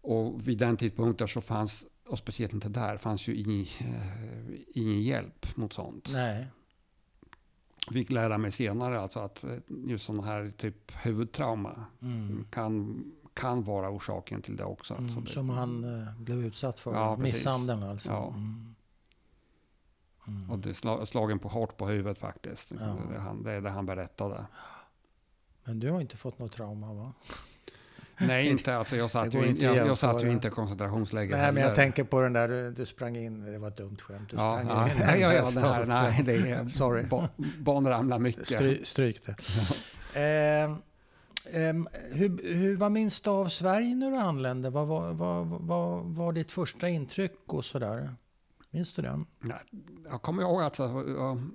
[SPEAKER 2] Och vid den tidpunkten så fanns, och speciellt inte där, fanns ju ingen, eh, ingen hjälp mot sånt.
[SPEAKER 1] Nej.
[SPEAKER 2] Fick lära mig senare alltså att eh, just sådana här typ huvudtrauma
[SPEAKER 1] Mm.
[SPEAKER 2] kan, kan vara orsaken till det också. Alltså
[SPEAKER 1] Mm.
[SPEAKER 2] det-
[SPEAKER 1] Som han eh, blev utsatt för.
[SPEAKER 2] Ja, precis.
[SPEAKER 1] Misshandeln alltså.
[SPEAKER 2] Ja.
[SPEAKER 1] Mm. Mm.
[SPEAKER 2] Och det sla- slagen på hårt på huvudet faktiskt.
[SPEAKER 1] Ja.
[SPEAKER 2] Det, är det han, det är det han berättade.
[SPEAKER 1] Men du har inte fått något trauma va?
[SPEAKER 2] Nej, inte alltså.
[SPEAKER 1] (laughs)
[SPEAKER 2] Jag
[SPEAKER 1] Det
[SPEAKER 2] satt,
[SPEAKER 1] går
[SPEAKER 2] ju, in,
[SPEAKER 1] inte
[SPEAKER 2] jag,
[SPEAKER 1] att
[SPEAKER 2] jag satt ju
[SPEAKER 1] jämföra.
[SPEAKER 2] inte i koncentrationsläger
[SPEAKER 1] Nej, men jag
[SPEAKER 2] heller.
[SPEAKER 1] tänker på den där du, du sprang in. Det var ett dumt skämt. Du
[SPEAKER 2] Ja,
[SPEAKER 1] sprang
[SPEAKER 2] (laughs) ja,
[SPEAKER 1] in. i
[SPEAKER 2] ja, ja,
[SPEAKER 1] den
[SPEAKER 2] ja,
[SPEAKER 1] där
[SPEAKER 2] det här,
[SPEAKER 1] stolpen.
[SPEAKER 2] nej, det är...
[SPEAKER 1] (laughs) Sorry.
[SPEAKER 2] ba- Barn ramlar mycket.
[SPEAKER 1] Stry, stryk
[SPEAKER 2] (laughs)
[SPEAKER 1] det. Ehm, ehm, hur, hur, vad minns du av Sverige när du anlände? Vad var vad, vad, var ditt första intryck och sådär? Minns du det?
[SPEAKER 2] Nej, jag kommer ihåg att alltså, jag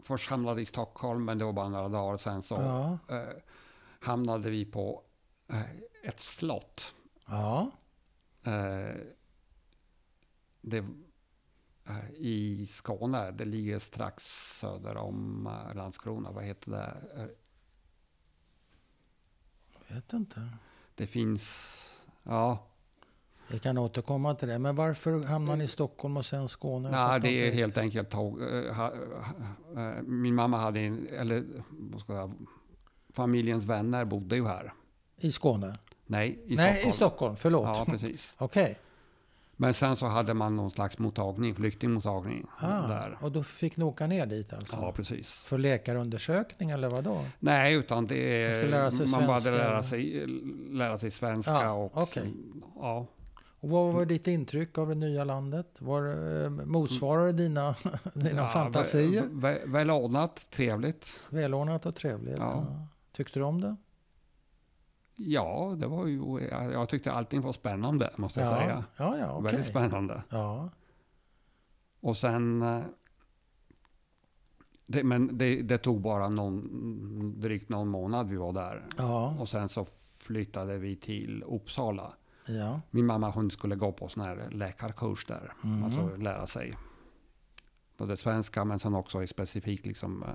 [SPEAKER 2] först hamnade i Stockholm, men det var bara några dagar. Sen så
[SPEAKER 1] Ja.
[SPEAKER 2] eh, hamnade vi på eh, ett slott.
[SPEAKER 1] Ja.
[SPEAKER 2] Eh, det, eh, I Skåne, det ligger strax söder om eh, Landskrona. Vad heter det? Eh,
[SPEAKER 1] Vet inte.
[SPEAKER 2] Det finns... Ja,
[SPEAKER 1] Jag kan återkomma till det. Men varför hamnade ni i Stockholm och sen Skåne? Jag
[SPEAKER 2] Nej,
[SPEAKER 1] fattar
[SPEAKER 2] det är
[SPEAKER 1] inte.
[SPEAKER 2] helt enkelt tåg. eh, ha- eh, Min mamma hade en, eller vad ska jag säga, familjens vänner bodde ju här.
[SPEAKER 1] I Skåne?
[SPEAKER 2] Nej, i
[SPEAKER 1] Nej,
[SPEAKER 2] Stockholm.
[SPEAKER 1] i Stockholm. Förlåt.
[SPEAKER 2] Ja, precis.
[SPEAKER 1] (laughs) Okej.
[SPEAKER 2] Men sen så hade man någon slags mottagning, flyktingmottagning
[SPEAKER 1] Ah,
[SPEAKER 2] där.
[SPEAKER 1] och då fick ni åka ner dit alltså?
[SPEAKER 2] Ja, precis.
[SPEAKER 1] För läkarundersökning eller vad då?
[SPEAKER 2] Nej, utan det
[SPEAKER 1] Man
[SPEAKER 2] är,
[SPEAKER 1] skulle
[SPEAKER 2] man,
[SPEAKER 1] lära sig
[SPEAKER 2] började
[SPEAKER 1] svenska.
[SPEAKER 2] lära sig, lära sig svenska.
[SPEAKER 1] Ja,
[SPEAKER 2] och,
[SPEAKER 1] okej.
[SPEAKER 2] ja.
[SPEAKER 1] Och vad var ditt intryck av det nya landet? Var, eh, motsvarar det dina, (laughs) dina
[SPEAKER 2] ja,
[SPEAKER 1] fantasier?
[SPEAKER 2] Väl, väl, välordnat, trevligt.
[SPEAKER 1] Välordnat och trevligt.
[SPEAKER 2] Ja.
[SPEAKER 1] Ja. Tyckte du om det?
[SPEAKER 2] Ja, det var ju, jag jag tyckte allting var spännande, måste jag
[SPEAKER 1] ja.
[SPEAKER 2] säga.
[SPEAKER 1] Ja, ja, okej.
[SPEAKER 2] Väldigt spännande.
[SPEAKER 1] Ja,
[SPEAKER 2] Och sen... eh, Det, men det, det tog bara någon, drygt någon månad vi var där.
[SPEAKER 1] ja,
[SPEAKER 2] Och sen så flyttade vi till Uppsala.
[SPEAKER 1] ja.
[SPEAKER 2] Min mamma hon skulle gå på sån här läkarkurs där.
[SPEAKER 1] Mhm.
[SPEAKER 2] Alltså lära sig. Både svenska men sen också i specifikt liksom... eh,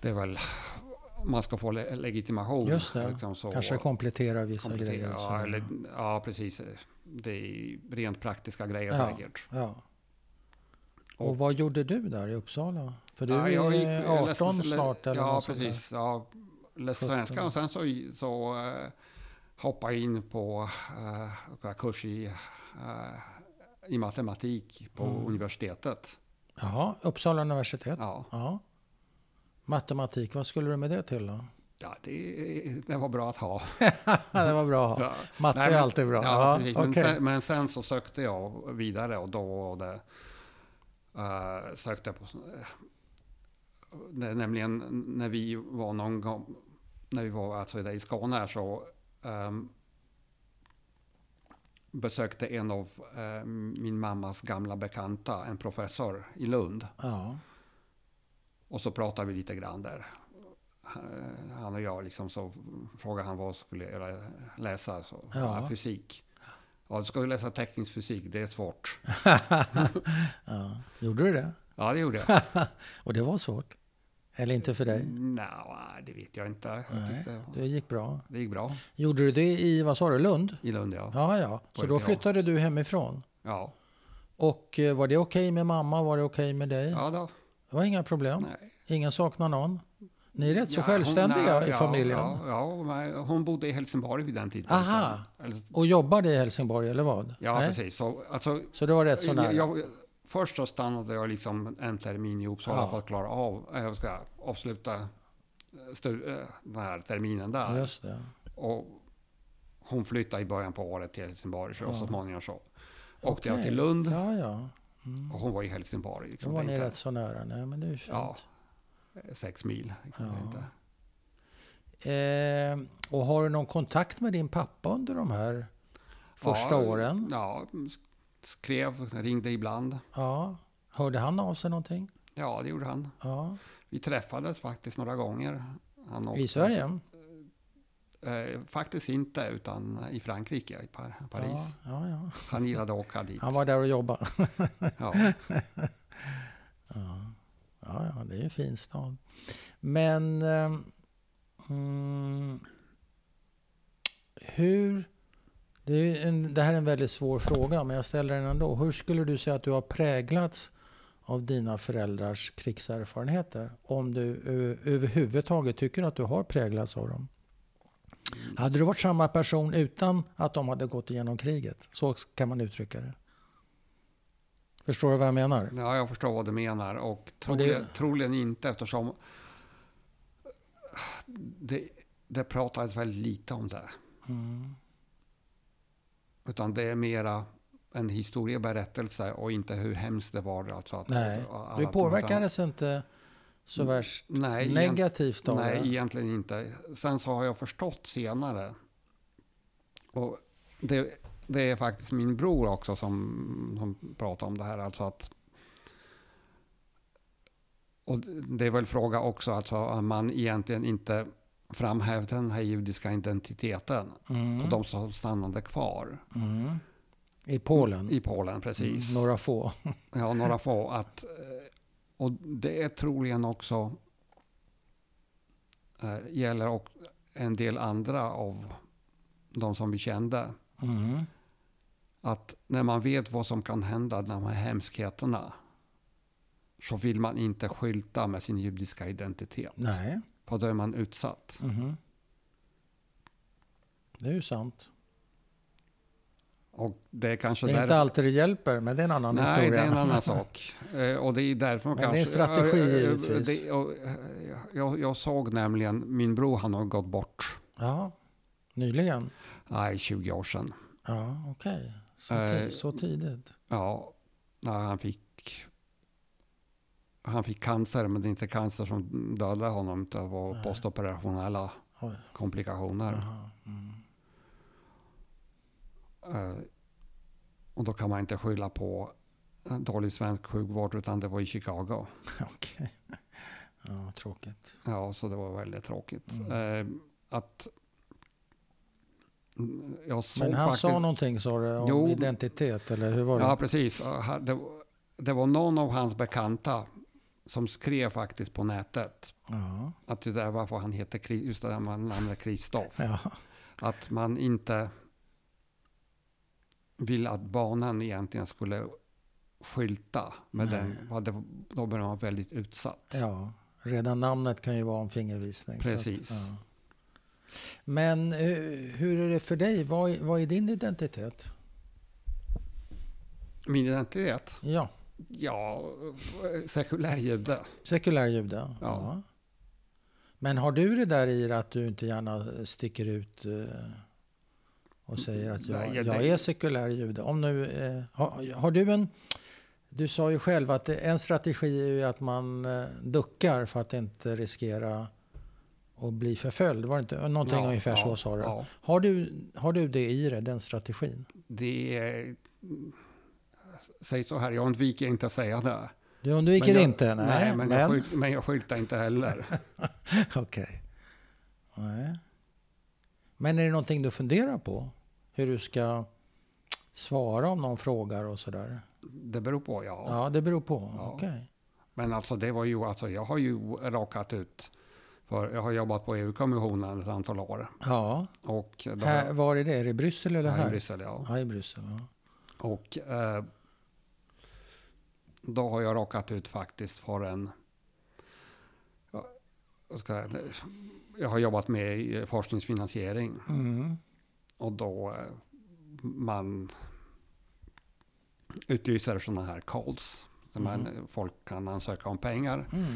[SPEAKER 2] Det är väl... Man ska få le- legitimation.
[SPEAKER 1] Just det.
[SPEAKER 2] Liksom så,
[SPEAKER 1] Kanske komplettera vissa
[SPEAKER 2] komplettera.
[SPEAKER 1] grejer. och
[SPEAKER 2] Ja,
[SPEAKER 1] sådär.
[SPEAKER 2] eller, ja, precis. Det är rent praktiska grejer
[SPEAKER 1] Ja.
[SPEAKER 2] säkert.
[SPEAKER 1] ja.
[SPEAKER 2] Och-
[SPEAKER 1] Och vad gjorde du där i Uppsala? För du
[SPEAKER 2] Ja,
[SPEAKER 1] är
[SPEAKER 2] jag gick- jag
[SPEAKER 1] 18
[SPEAKER 2] läste- lä-
[SPEAKER 1] snart eller
[SPEAKER 2] Ja,
[SPEAKER 1] något sånt där.
[SPEAKER 2] precis. Ja, läste
[SPEAKER 1] 17.
[SPEAKER 2] svenska och sen så, så eh, hoppade jag in på uh, kurs i, eh, i matematik på
[SPEAKER 1] Mm.
[SPEAKER 2] universitetet.
[SPEAKER 1] Jaha, Uppsala universitet.
[SPEAKER 2] Ja,
[SPEAKER 1] Ja. Matematik, vad skulle du med det till då?
[SPEAKER 2] ja det, det var bra att ha.
[SPEAKER 1] det var bra.
[SPEAKER 2] Ja.
[SPEAKER 1] Matte
[SPEAKER 2] Nej,
[SPEAKER 1] är
[SPEAKER 2] men-
[SPEAKER 1] alltid bra.
[SPEAKER 2] Ja,
[SPEAKER 1] Ja,
[SPEAKER 2] precis.
[SPEAKER 1] okej.
[SPEAKER 2] Men, sen, men sen så sökte jag vidare och då var det, eh, sökte jag på... Det, är nämligen när vi var någon gång, när vi var alltså där i Skåne här så ehm, besökte en av eh, min mammas gamla bekanta, en professor i Lund.
[SPEAKER 1] Ja,
[SPEAKER 2] Och så pratade vi lite grann där. Eh, Han och jag liksom så frågade han vad skulle jag läsa. Så,
[SPEAKER 1] Ja.
[SPEAKER 2] ja. Fysik. Ja, du ska ju läsa teknisk fysik, det
[SPEAKER 1] (laughs)
[SPEAKER 2] är svårt.
[SPEAKER 1] ja. Gjorde du det?
[SPEAKER 2] Ja, det gjorde jag.
[SPEAKER 1] Och det var svårt? Eller inte för
[SPEAKER 2] Mm.
[SPEAKER 1] dig?
[SPEAKER 2] Nej, det vet jag inte. Jag
[SPEAKER 1] Nej,
[SPEAKER 2] tyckte,
[SPEAKER 1] Det gick bra.
[SPEAKER 2] det gick bra
[SPEAKER 1] Gjorde du det i, vad sa du, Lund?
[SPEAKER 2] i Lund, ja.
[SPEAKER 1] Ja, ja.
[SPEAKER 2] På
[SPEAKER 1] Så då
[SPEAKER 2] LTA.
[SPEAKER 1] flyttade du hemifrån.
[SPEAKER 2] Ja,
[SPEAKER 1] Och eh, var det okej med mamma? Var det okej med dig?
[SPEAKER 2] ja då.
[SPEAKER 1] Det var inga problem.
[SPEAKER 2] Nej.
[SPEAKER 1] Ingen saknar någon. Ni är rätt så
[SPEAKER 2] Ja,
[SPEAKER 1] självständiga
[SPEAKER 2] hon-
[SPEAKER 1] i
[SPEAKER 2] ja,
[SPEAKER 1] familjen.
[SPEAKER 2] Ja, ja, men hon bodde i Helsingborg vid den tidpunkten.
[SPEAKER 1] Aha.
[SPEAKER 2] Eller-
[SPEAKER 1] Och jobbade i Helsingborg, eller vad?
[SPEAKER 2] Ja,
[SPEAKER 1] Nej?
[SPEAKER 2] precis. Så, alltså,
[SPEAKER 1] Så det var rätt så nära?
[SPEAKER 2] jag, jag, först så stannade jag liksom en termin i Uppsala
[SPEAKER 1] Ja.
[SPEAKER 2] för att klara av, eller ska jag, avsluta eh, stu, eh, den här terminen där.
[SPEAKER 1] Just det.
[SPEAKER 2] Och hon flyttade i början på året till Helsingborg så,
[SPEAKER 1] Ja.
[SPEAKER 2] och så småningom så åkte jag
[SPEAKER 1] Okej.
[SPEAKER 2] till Lund
[SPEAKER 1] Ja, ja. Mm.
[SPEAKER 2] och hon var i Helsingborg.
[SPEAKER 1] Då
[SPEAKER 2] Liksom.
[SPEAKER 1] var
[SPEAKER 2] Det är
[SPEAKER 1] ni
[SPEAKER 2] inte-
[SPEAKER 1] rätt så nära. Nej, men det är ju fint.
[SPEAKER 2] ja, sex mil. Liksom. Det är
[SPEAKER 1] Ja.
[SPEAKER 2] Inte.
[SPEAKER 1] Eh, och har du någon kontakt med din pappa under de här första
[SPEAKER 2] ja,
[SPEAKER 1] åren?
[SPEAKER 2] Ja, sk- skrev, ringde ibland.
[SPEAKER 1] Ja. Hörde han av sig någonting?
[SPEAKER 2] Ja, det gjorde han.
[SPEAKER 1] Ja.
[SPEAKER 2] Vi träffades faktiskt några gånger. Han
[SPEAKER 1] I Sverige?
[SPEAKER 2] Eh, Eh, faktiskt inte, utan i Frankrike, i Par Paris.
[SPEAKER 1] Ja, ja, ja.
[SPEAKER 2] Han gillade att åka dit.
[SPEAKER 1] Han var där och jobbade.
[SPEAKER 2] ja.
[SPEAKER 1] Ja, ja, ja det är ju en fin stad. Men... eh, Mm, hur... Det, är ju en, det här är en väldigt svår fråga, men jag ställer den ändå. Hur skulle du säga att du har präglats av dina föräldrars krigserfarenheter? Om du ö- överhuvudtaget tycker att du har präglats av dem. Hade du varit samma person utan att de hade gått igenom kriget? Så kan man uttrycka det. Förstår du vad jag menar?
[SPEAKER 2] ja, jag förstår vad du menar. Och
[SPEAKER 1] Och det-
[SPEAKER 2] troligen, troligen inte eftersom det, det pratades väldigt lite om det.
[SPEAKER 1] Mm.
[SPEAKER 2] Utan det är mera en historieberättelse och inte hur hemskt det var. Alltså att,
[SPEAKER 1] Nej,
[SPEAKER 2] att,
[SPEAKER 1] Du
[SPEAKER 2] att-
[SPEAKER 1] påverkades inte så värst
[SPEAKER 2] Mm. Nej, egent-
[SPEAKER 1] negativt av
[SPEAKER 2] Nej,
[SPEAKER 1] det?
[SPEAKER 2] egentligen inte. Sen så har jag förstått senare. Och det, det är faktiskt min bror också som, som pratar om det här. Alltså att, och det är väl fråga också, alltså att man egentligen inte framhävde den här judiska identiteten
[SPEAKER 1] Mm.
[SPEAKER 2] på de som stannade kvar
[SPEAKER 1] Mm. I Polen?
[SPEAKER 2] i Polen. Precis.
[SPEAKER 1] Mm, Några få?
[SPEAKER 2] Ja, några få. Att, eh, och det är troligen också eh, gäller och en del andra av de som vi kände.
[SPEAKER 1] Mm.
[SPEAKER 2] Att när man vet vad som kan hända, de här hemskheterna, så vill man inte skylta med sin judiska identitet.
[SPEAKER 1] Nej.
[SPEAKER 2] För då är man utsatt.
[SPEAKER 1] Mhm. Det är ju sant.
[SPEAKER 2] Och det är kanske
[SPEAKER 1] det är
[SPEAKER 2] där...
[SPEAKER 1] inte alltid det hjälper, men det är en annan
[SPEAKER 2] Nej,
[SPEAKER 1] historia.
[SPEAKER 2] det är
[SPEAKER 1] (laughs)
[SPEAKER 2] en annan sak. Eh, Och det är därför
[SPEAKER 1] Men det är
[SPEAKER 2] kanske...
[SPEAKER 1] en strategi,
[SPEAKER 2] Eh, eh,
[SPEAKER 1] givetvis.
[SPEAKER 2] det- och, eh, jag, jag såg nämligen, min bror han har gått bort.
[SPEAKER 1] ja, nyligen?
[SPEAKER 2] Nej, 20 år sedan.
[SPEAKER 1] Ja, okej. Så,
[SPEAKER 2] Eh,
[SPEAKER 1] ti- så tidigt?
[SPEAKER 2] Ja, när han fick han fick cancer, men det är inte cancer som dödade honom. Det var
[SPEAKER 1] Nej.
[SPEAKER 2] postoperationella
[SPEAKER 1] Oj.
[SPEAKER 2] komplikationer.
[SPEAKER 1] Jaha. Mm.
[SPEAKER 2] Eh, och då kan man inte skylla på en dålig svensk sjukvård, utan det var i Chicago.
[SPEAKER 1] Okej. (laughs) Ja, tråkigt.
[SPEAKER 2] Ja, så det var väldigt tråkigt.
[SPEAKER 1] Mm.
[SPEAKER 2] Eh, att mm, jag såg
[SPEAKER 1] Men han
[SPEAKER 2] faktiskt...
[SPEAKER 1] sa någonting, sa du, om
[SPEAKER 2] Jo.
[SPEAKER 1] identitet? Eller hur var det?
[SPEAKER 2] Ja, precis. Och ha- Det, var- det var någon av hans bekanta som skrev faktiskt på nätet
[SPEAKER 1] Ja.
[SPEAKER 2] att det där varför han heter Kri- just det där man namnet Kristoff.
[SPEAKER 1] ja.
[SPEAKER 2] Att man inte vill att barnen egentligen skulle skylta med
[SPEAKER 1] Nej.
[SPEAKER 2] den. vad det- Då blir man väldigt utsatt.
[SPEAKER 1] Ja, redan namnet kan ju vara en fingervisning. så
[SPEAKER 2] Precis.
[SPEAKER 1] Att, ja. Men eh, hur är det för dig? Vad, är- vad är din identitet?
[SPEAKER 2] Min identitet?
[SPEAKER 1] Ja,
[SPEAKER 2] Ja, eh, sekulär jude.
[SPEAKER 1] sekulär jude. Ja.
[SPEAKER 2] Ja.
[SPEAKER 1] Men har du det där i dig att du inte gärna sticker ut eh, och säger att jag,
[SPEAKER 2] Nej, jag-
[SPEAKER 1] jag,
[SPEAKER 2] det-
[SPEAKER 1] är sekulär jude? Om nu, eh, har, har du en... Du sa ju själv att det, en strategi är ju att man eh, duckar för att inte riskera att bli förföljd. Var det inte någonting
[SPEAKER 2] ja,
[SPEAKER 1] ungefär
[SPEAKER 2] ja,
[SPEAKER 1] så sa du?
[SPEAKER 2] Ja,
[SPEAKER 1] Har du, har du det i dig, den strategin?
[SPEAKER 2] det är... Säg så här, jag undviker inte att säga det.
[SPEAKER 1] Du undviker
[SPEAKER 2] Men jag,
[SPEAKER 1] inte? Nej,
[SPEAKER 2] men, Jag skylt, men jag skyltar inte heller.
[SPEAKER 1] (laughs) Okej. Nej. Men är det någonting du funderar på? Hur du ska svara om någon frågar och sådär?
[SPEAKER 2] Det beror på, ja.
[SPEAKER 1] Ja. det beror på.
[SPEAKER 2] Ja.
[SPEAKER 1] Okej.
[SPEAKER 2] Men alltså det var ju, alltså jag har ju rakat ut. För jag har jobbat på EU-kommissionen ett antal år.
[SPEAKER 1] Ja.
[SPEAKER 2] Och då har
[SPEAKER 1] Här, var är det? Är det i Bryssel eller
[SPEAKER 2] jag,
[SPEAKER 1] här?
[SPEAKER 2] i Bryssel, ja.
[SPEAKER 1] Ja, i Bryssel. Ja.
[SPEAKER 2] Och eh, då har jag rakat ut faktiskt för en... ja, vad Ska jag, jag har jobbat med i forskningsfinansiering.
[SPEAKER 1] Mm.
[SPEAKER 2] Och då eh, man utlyser sådana här calls. Där man,
[SPEAKER 1] Mm-hmm.
[SPEAKER 2] folk kan ansöka om pengar.
[SPEAKER 1] Mm.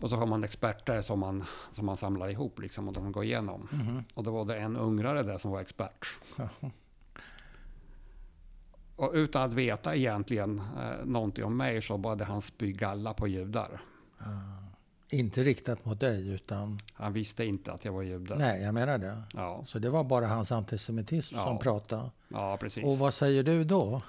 [SPEAKER 2] Och så har man experter som man, som man samlar ihop liksom, och de går igenom.
[SPEAKER 1] Mhm.
[SPEAKER 2] Och då var det en ungrare där som var expert.
[SPEAKER 1] Ja.
[SPEAKER 2] Och utan att veta egentligen eh, någonting om mig så började han spy galla på judar.
[SPEAKER 1] Ah. Inte riktat mot dig, utan...
[SPEAKER 2] Han visste inte att jag var jude.
[SPEAKER 1] Nej, jag menar det.
[SPEAKER 2] Ja,
[SPEAKER 1] Så det var bara hans antisemitism
[SPEAKER 2] Ja.
[SPEAKER 1] som pratade.
[SPEAKER 2] ja, precis. Eh,
[SPEAKER 1] Och vad säger du då?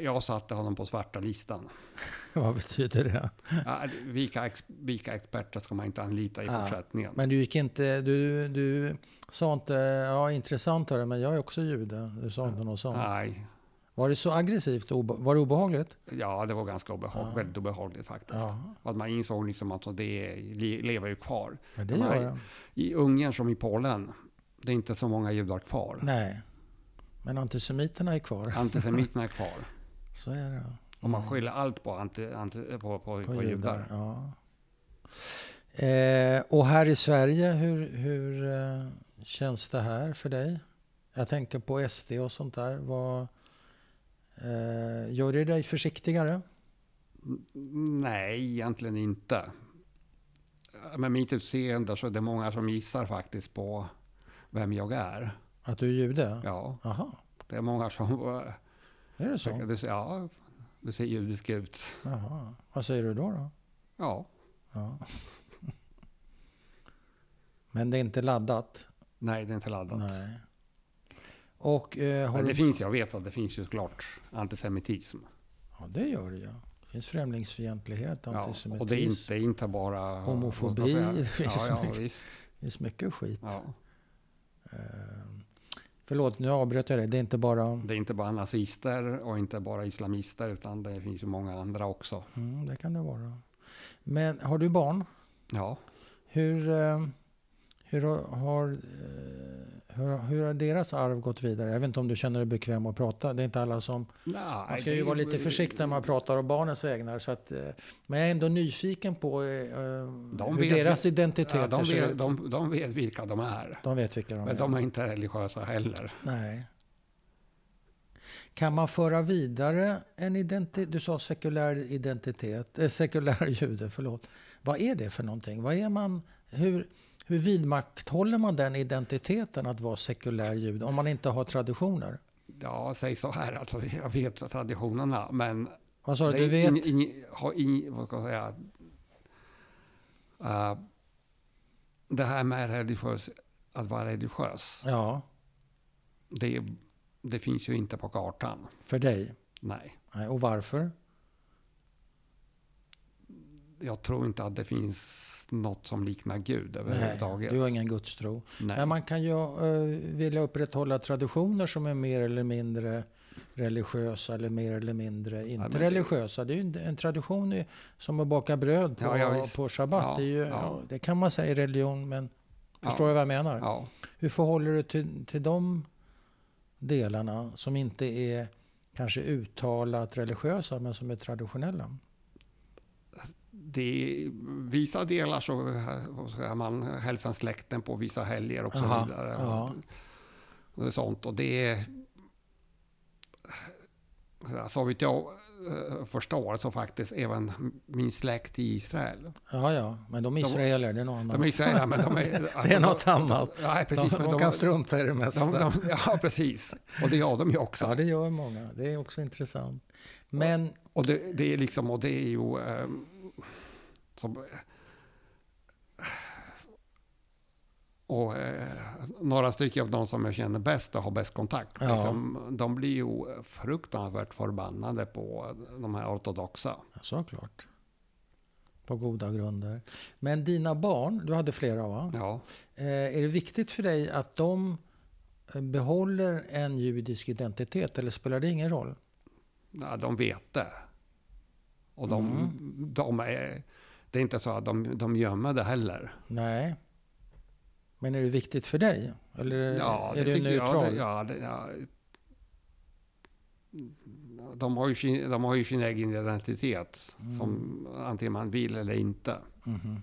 [SPEAKER 2] Jag satte honom på svarta listan.
[SPEAKER 1] (laughs) Vad betyder det?
[SPEAKER 2] Ja, Vilka, ex, vilka experter ska man inte anlita i
[SPEAKER 1] Ja,
[SPEAKER 2] fortsättningen?
[SPEAKER 1] Men du gick inte, du, du sa inte, ja intressant hörru, men jag är också jude. Du sa inte något sånt.
[SPEAKER 2] Nej,
[SPEAKER 1] Var det så aggressivt? Obe- Var det obehagligt?
[SPEAKER 2] ja det var ganska obehagligt,
[SPEAKER 1] Ja.
[SPEAKER 2] väldigt obehagligt faktiskt.
[SPEAKER 1] Ja,
[SPEAKER 2] Att man insåg liksom att det le- lever ju kvar.
[SPEAKER 1] men det
[SPEAKER 2] Nej.
[SPEAKER 1] gör jag.
[SPEAKER 2] I Ungern som i Polen, det är inte så många judar kvar.
[SPEAKER 1] Nej. Men antisemiterna är kvar.
[SPEAKER 2] Antisemiterna
[SPEAKER 1] (laughs)
[SPEAKER 2] är kvar.
[SPEAKER 1] Så är det.
[SPEAKER 2] Och man
[SPEAKER 1] Mm.
[SPEAKER 2] skyller allt på, anti, anti, på, på, på, judar.
[SPEAKER 1] Ja. Eh, och här i Sverige, hur, hur eh, känns det här för dig? Jag tänker på SD och sånt där. Vad, eh, gör det dig försiktigare?
[SPEAKER 2] Nej, egentligen inte. Med mitt utseende så är det många som gissar faktiskt på vem jag är.
[SPEAKER 1] Att du är jude?
[SPEAKER 2] Ja,
[SPEAKER 1] Jaha,
[SPEAKER 2] det är många som... (laughs) eh,
[SPEAKER 1] är det
[SPEAKER 2] tycker-
[SPEAKER 1] så?
[SPEAKER 2] Du, ser- ja, du ser judisk ut.
[SPEAKER 1] Jaha. Vad säger du då? då?
[SPEAKER 2] Ja, (laughs)
[SPEAKER 1] Ja. Men det är inte laddat?
[SPEAKER 2] nej det är inte laddat.
[SPEAKER 1] Nej. Och eh, har
[SPEAKER 2] Men det
[SPEAKER 1] du...
[SPEAKER 2] finns, jag vet att det finns ju såklart antisemitism.
[SPEAKER 1] Ja, det gör det ju. Det finns främlingsfientlighet,
[SPEAKER 2] Ja,
[SPEAKER 1] antisemitism.
[SPEAKER 2] och det är inte, inte bara...
[SPEAKER 1] Homofobi,
[SPEAKER 2] vad ska
[SPEAKER 1] (laughs) det
[SPEAKER 2] jag säga?
[SPEAKER 1] finns
[SPEAKER 2] Ja, ja,
[SPEAKER 1] mycket.
[SPEAKER 2] visst.
[SPEAKER 1] Det finns mycket skit.
[SPEAKER 2] Ja.
[SPEAKER 1] Eh, Förlåt, nu avbröt jag dig. Det är inte bara...
[SPEAKER 2] Det är inte bara nazister och inte bara islamister utan det finns ju många andra också.
[SPEAKER 1] Mm, det kan det vara. Men har du barn?
[SPEAKER 2] Ja,
[SPEAKER 1] Hur, eh, hur, har, eh, hur, hur har deras arv gått vidare? Jag vet inte om du känner dig bekväm att prata. Det är inte alla som...
[SPEAKER 2] Nej,
[SPEAKER 1] Man ska ju
[SPEAKER 2] det-
[SPEAKER 1] vara lite försiktig när man pratar om barnens vägnar. Så att, eh, men jag är ändå nyfiken på eh, hur
[SPEAKER 2] vet-
[SPEAKER 1] deras identiteter
[SPEAKER 2] Ja, de,
[SPEAKER 1] ser
[SPEAKER 2] vet,
[SPEAKER 1] ut.
[SPEAKER 2] de, de vet vilka de är.
[SPEAKER 1] De vet vilka de
[SPEAKER 2] Men
[SPEAKER 1] är.
[SPEAKER 2] de är inte religiösa heller.
[SPEAKER 1] Nej. Kan man föra vidare en identitet? Du sa sekulär identitet, eh, sekulär jude, förlåt. Vad är det för någonting? Vad är man, hur, hur vidmakthåller man den identiteten att vara sekulär jude om man inte har traditioner?
[SPEAKER 2] Ja, säg så här, alltså, jag vet traditionerna, men
[SPEAKER 1] Vad sa du?
[SPEAKER 2] det
[SPEAKER 1] Du
[SPEAKER 2] är
[SPEAKER 1] vet?
[SPEAKER 2] ing- ing- har ing- vad ska jag säga, Eh, det här med religiös, att vara religiös,
[SPEAKER 1] Ja,
[SPEAKER 2] det, det finns ju inte på kartan.
[SPEAKER 1] för dig.
[SPEAKER 2] Nej.
[SPEAKER 1] Nej, Och varför?
[SPEAKER 2] jag tror inte att det finns något som liknar Gud
[SPEAKER 1] Nej,
[SPEAKER 2] överhuvudtaget.
[SPEAKER 1] du har ingen gudstro.
[SPEAKER 2] Nej.
[SPEAKER 1] Men man kan ju eh, vilja upprätthålla traditioner som är mer eller mindre religiösa eller mer eller mindre inte
[SPEAKER 2] men det-
[SPEAKER 1] religiösa. Det är ju en- en tradition i- som att baka bröd på,
[SPEAKER 2] Ja, ja, visst.
[SPEAKER 1] på shabbat.
[SPEAKER 2] Ja,
[SPEAKER 1] det, är ju,
[SPEAKER 2] ja.
[SPEAKER 1] ja, det kan man säga är religion, men
[SPEAKER 2] Ja.
[SPEAKER 1] förstår du vad jag menar?
[SPEAKER 2] ja.
[SPEAKER 1] Hur förhåller du till, till de delarna som inte är kanske uttalat religiösa men som är traditionella?
[SPEAKER 2] det, vissa delar så vad ska man hälsar släkten på vissa helger och så
[SPEAKER 1] Aha,
[SPEAKER 2] vidare.
[SPEAKER 1] ja.
[SPEAKER 2] Och, och sånt. Och det är... Så vitt jag eh, förstår så faktiskt även min släkt i Israel.
[SPEAKER 1] Ja, ja, men de är
[SPEAKER 2] De-
[SPEAKER 1] israeler, det är något
[SPEAKER 2] De alltså, är
[SPEAKER 1] annat.
[SPEAKER 2] israeler men de
[SPEAKER 1] (laughs)
[SPEAKER 2] är...
[SPEAKER 1] Det är något annat.
[SPEAKER 2] Nej, precis.
[SPEAKER 1] de,
[SPEAKER 2] men
[SPEAKER 1] de, kan strunta i det mesta.
[SPEAKER 2] de, de, Ja, precis. Och det gör de ju också.
[SPEAKER 1] Ja, det gör många. Det är också intressant. Men,
[SPEAKER 2] Och det, det är liksom, och det är ju... ehm, som, eh, och eh, några stycken av de som jag känner bäst och har bäst kontakt,
[SPEAKER 1] Ja.
[SPEAKER 2] liksom, de blir ju fruktansvärt förbannade på de här ortodoxa.
[SPEAKER 1] ja, såklart. På goda grunder. Men dina barn, du hade flera va?
[SPEAKER 2] Ja,
[SPEAKER 1] Eh, är det viktigt för dig att de eh, behåller en judisk identitet eller spelar det ingen roll?
[SPEAKER 2] ja, de vet det. Och de, de är... Det är inte så att de, de gömmer det heller.
[SPEAKER 1] Nej. Men är det viktigt för dig? Eller
[SPEAKER 2] Ja,
[SPEAKER 1] Eh, är
[SPEAKER 2] det
[SPEAKER 1] du
[SPEAKER 2] tycker jag.
[SPEAKER 1] neutral?
[SPEAKER 2] Det, ja, det, ja. De, har ju sin, de har ju sin egen identitet,
[SPEAKER 1] Mm.
[SPEAKER 2] som antingen man vill eller inte.
[SPEAKER 1] Mhm.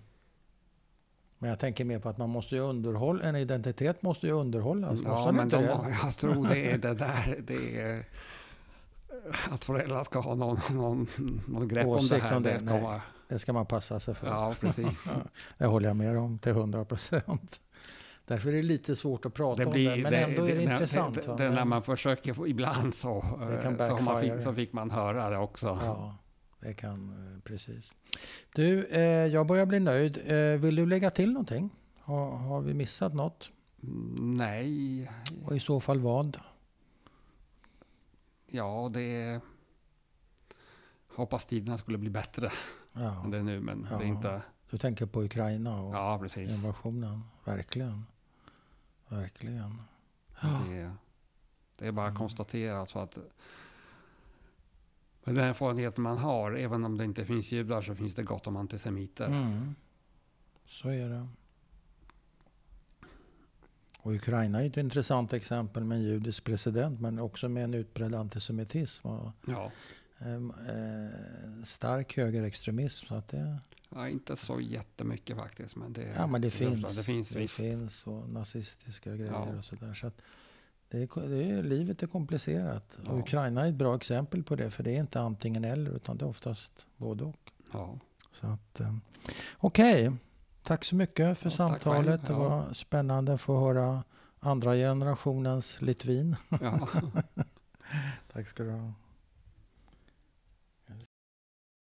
[SPEAKER 1] Men jag tänker mer på att man måste ju underhålla, en identitet måste ju underhållas. måste
[SPEAKER 2] ja,
[SPEAKER 1] den
[SPEAKER 2] men
[SPEAKER 1] inte
[SPEAKER 2] de,
[SPEAKER 1] det?
[SPEAKER 2] har- jag tror
[SPEAKER 1] (laughs)
[SPEAKER 2] det är det där. Det är, att föräldrar ska ha någon, någon, någon grepp om det
[SPEAKER 1] Åsikt
[SPEAKER 2] här.
[SPEAKER 1] om det,
[SPEAKER 2] Det ska
[SPEAKER 1] nej.
[SPEAKER 2] vara,
[SPEAKER 1] Det ska man passa sig för. (laughs)
[SPEAKER 2] ja, precis.
[SPEAKER 1] Ja, det håller jag med om till 100 procent. Därför är det lite svårt att prata
[SPEAKER 2] Det blir,
[SPEAKER 1] om det, men ändå är det, intressant.
[SPEAKER 2] Det,
[SPEAKER 1] va?
[SPEAKER 2] det, det, när
[SPEAKER 1] Men-
[SPEAKER 2] man försöker, få- ibland så,
[SPEAKER 1] Det kan
[SPEAKER 2] eh, så, har man
[SPEAKER 1] backfire.
[SPEAKER 2] fick, så fick man höra det också.
[SPEAKER 1] Ja, det kan, eh, precis. Du, eh, jag börjar bli nöjd. Eh, vill du lägga till någonting? Har, har vi missat något?
[SPEAKER 2] Mm, Nej,
[SPEAKER 1] Och i så fall vad?
[SPEAKER 2] Ja, det... hoppas tiderna skulle bli bättre
[SPEAKER 1] Ja.
[SPEAKER 2] än det är nu, men det är
[SPEAKER 1] Ja.
[SPEAKER 2] inte...
[SPEAKER 1] Du tänker på Ukraina och
[SPEAKER 2] Ja, precis.
[SPEAKER 1] invasionen. Verkligen. Verkligen. Ja.
[SPEAKER 2] Det, är- det är bara att
[SPEAKER 1] Mm.
[SPEAKER 2] konstatera så att med den erfarenheten man har, även om det inte finns judar så finns det gott om antisemiter.
[SPEAKER 1] Mm. Så är det. Och Ukraina är ju ett intressant exempel med en judisk president men också med en utbredd antisemitism och
[SPEAKER 2] Ja,
[SPEAKER 1] em, eh, stark högerextremism. Så att det,
[SPEAKER 2] ja, inte så jättemycket faktiskt, men det,
[SPEAKER 1] ja, men det,
[SPEAKER 2] det
[SPEAKER 1] finns.
[SPEAKER 2] Det finns visst.
[SPEAKER 1] finns och nazistiska grejer
[SPEAKER 2] Ja.
[SPEAKER 1] och sådär. Så att det är, ko- det är, livet är komplicerat. Och
[SPEAKER 2] Ja.
[SPEAKER 1] Ukraina är ett bra exempel på det för det är inte antingen eller utan det är oftast både och.
[SPEAKER 2] Ja.
[SPEAKER 1] Så att, eh, Okej, tack så mycket för
[SPEAKER 2] Ja, tack
[SPEAKER 1] samtalet.
[SPEAKER 2] själv,
[SPEAKER 1] Det
[SPEAKER 2] ja.
[SPEAKER 1] var spännande att få höra andra generationens Litvin. (laughs)
[SPEAKER 2] Ja.
[SPEAKER 1] Tack ska du ha.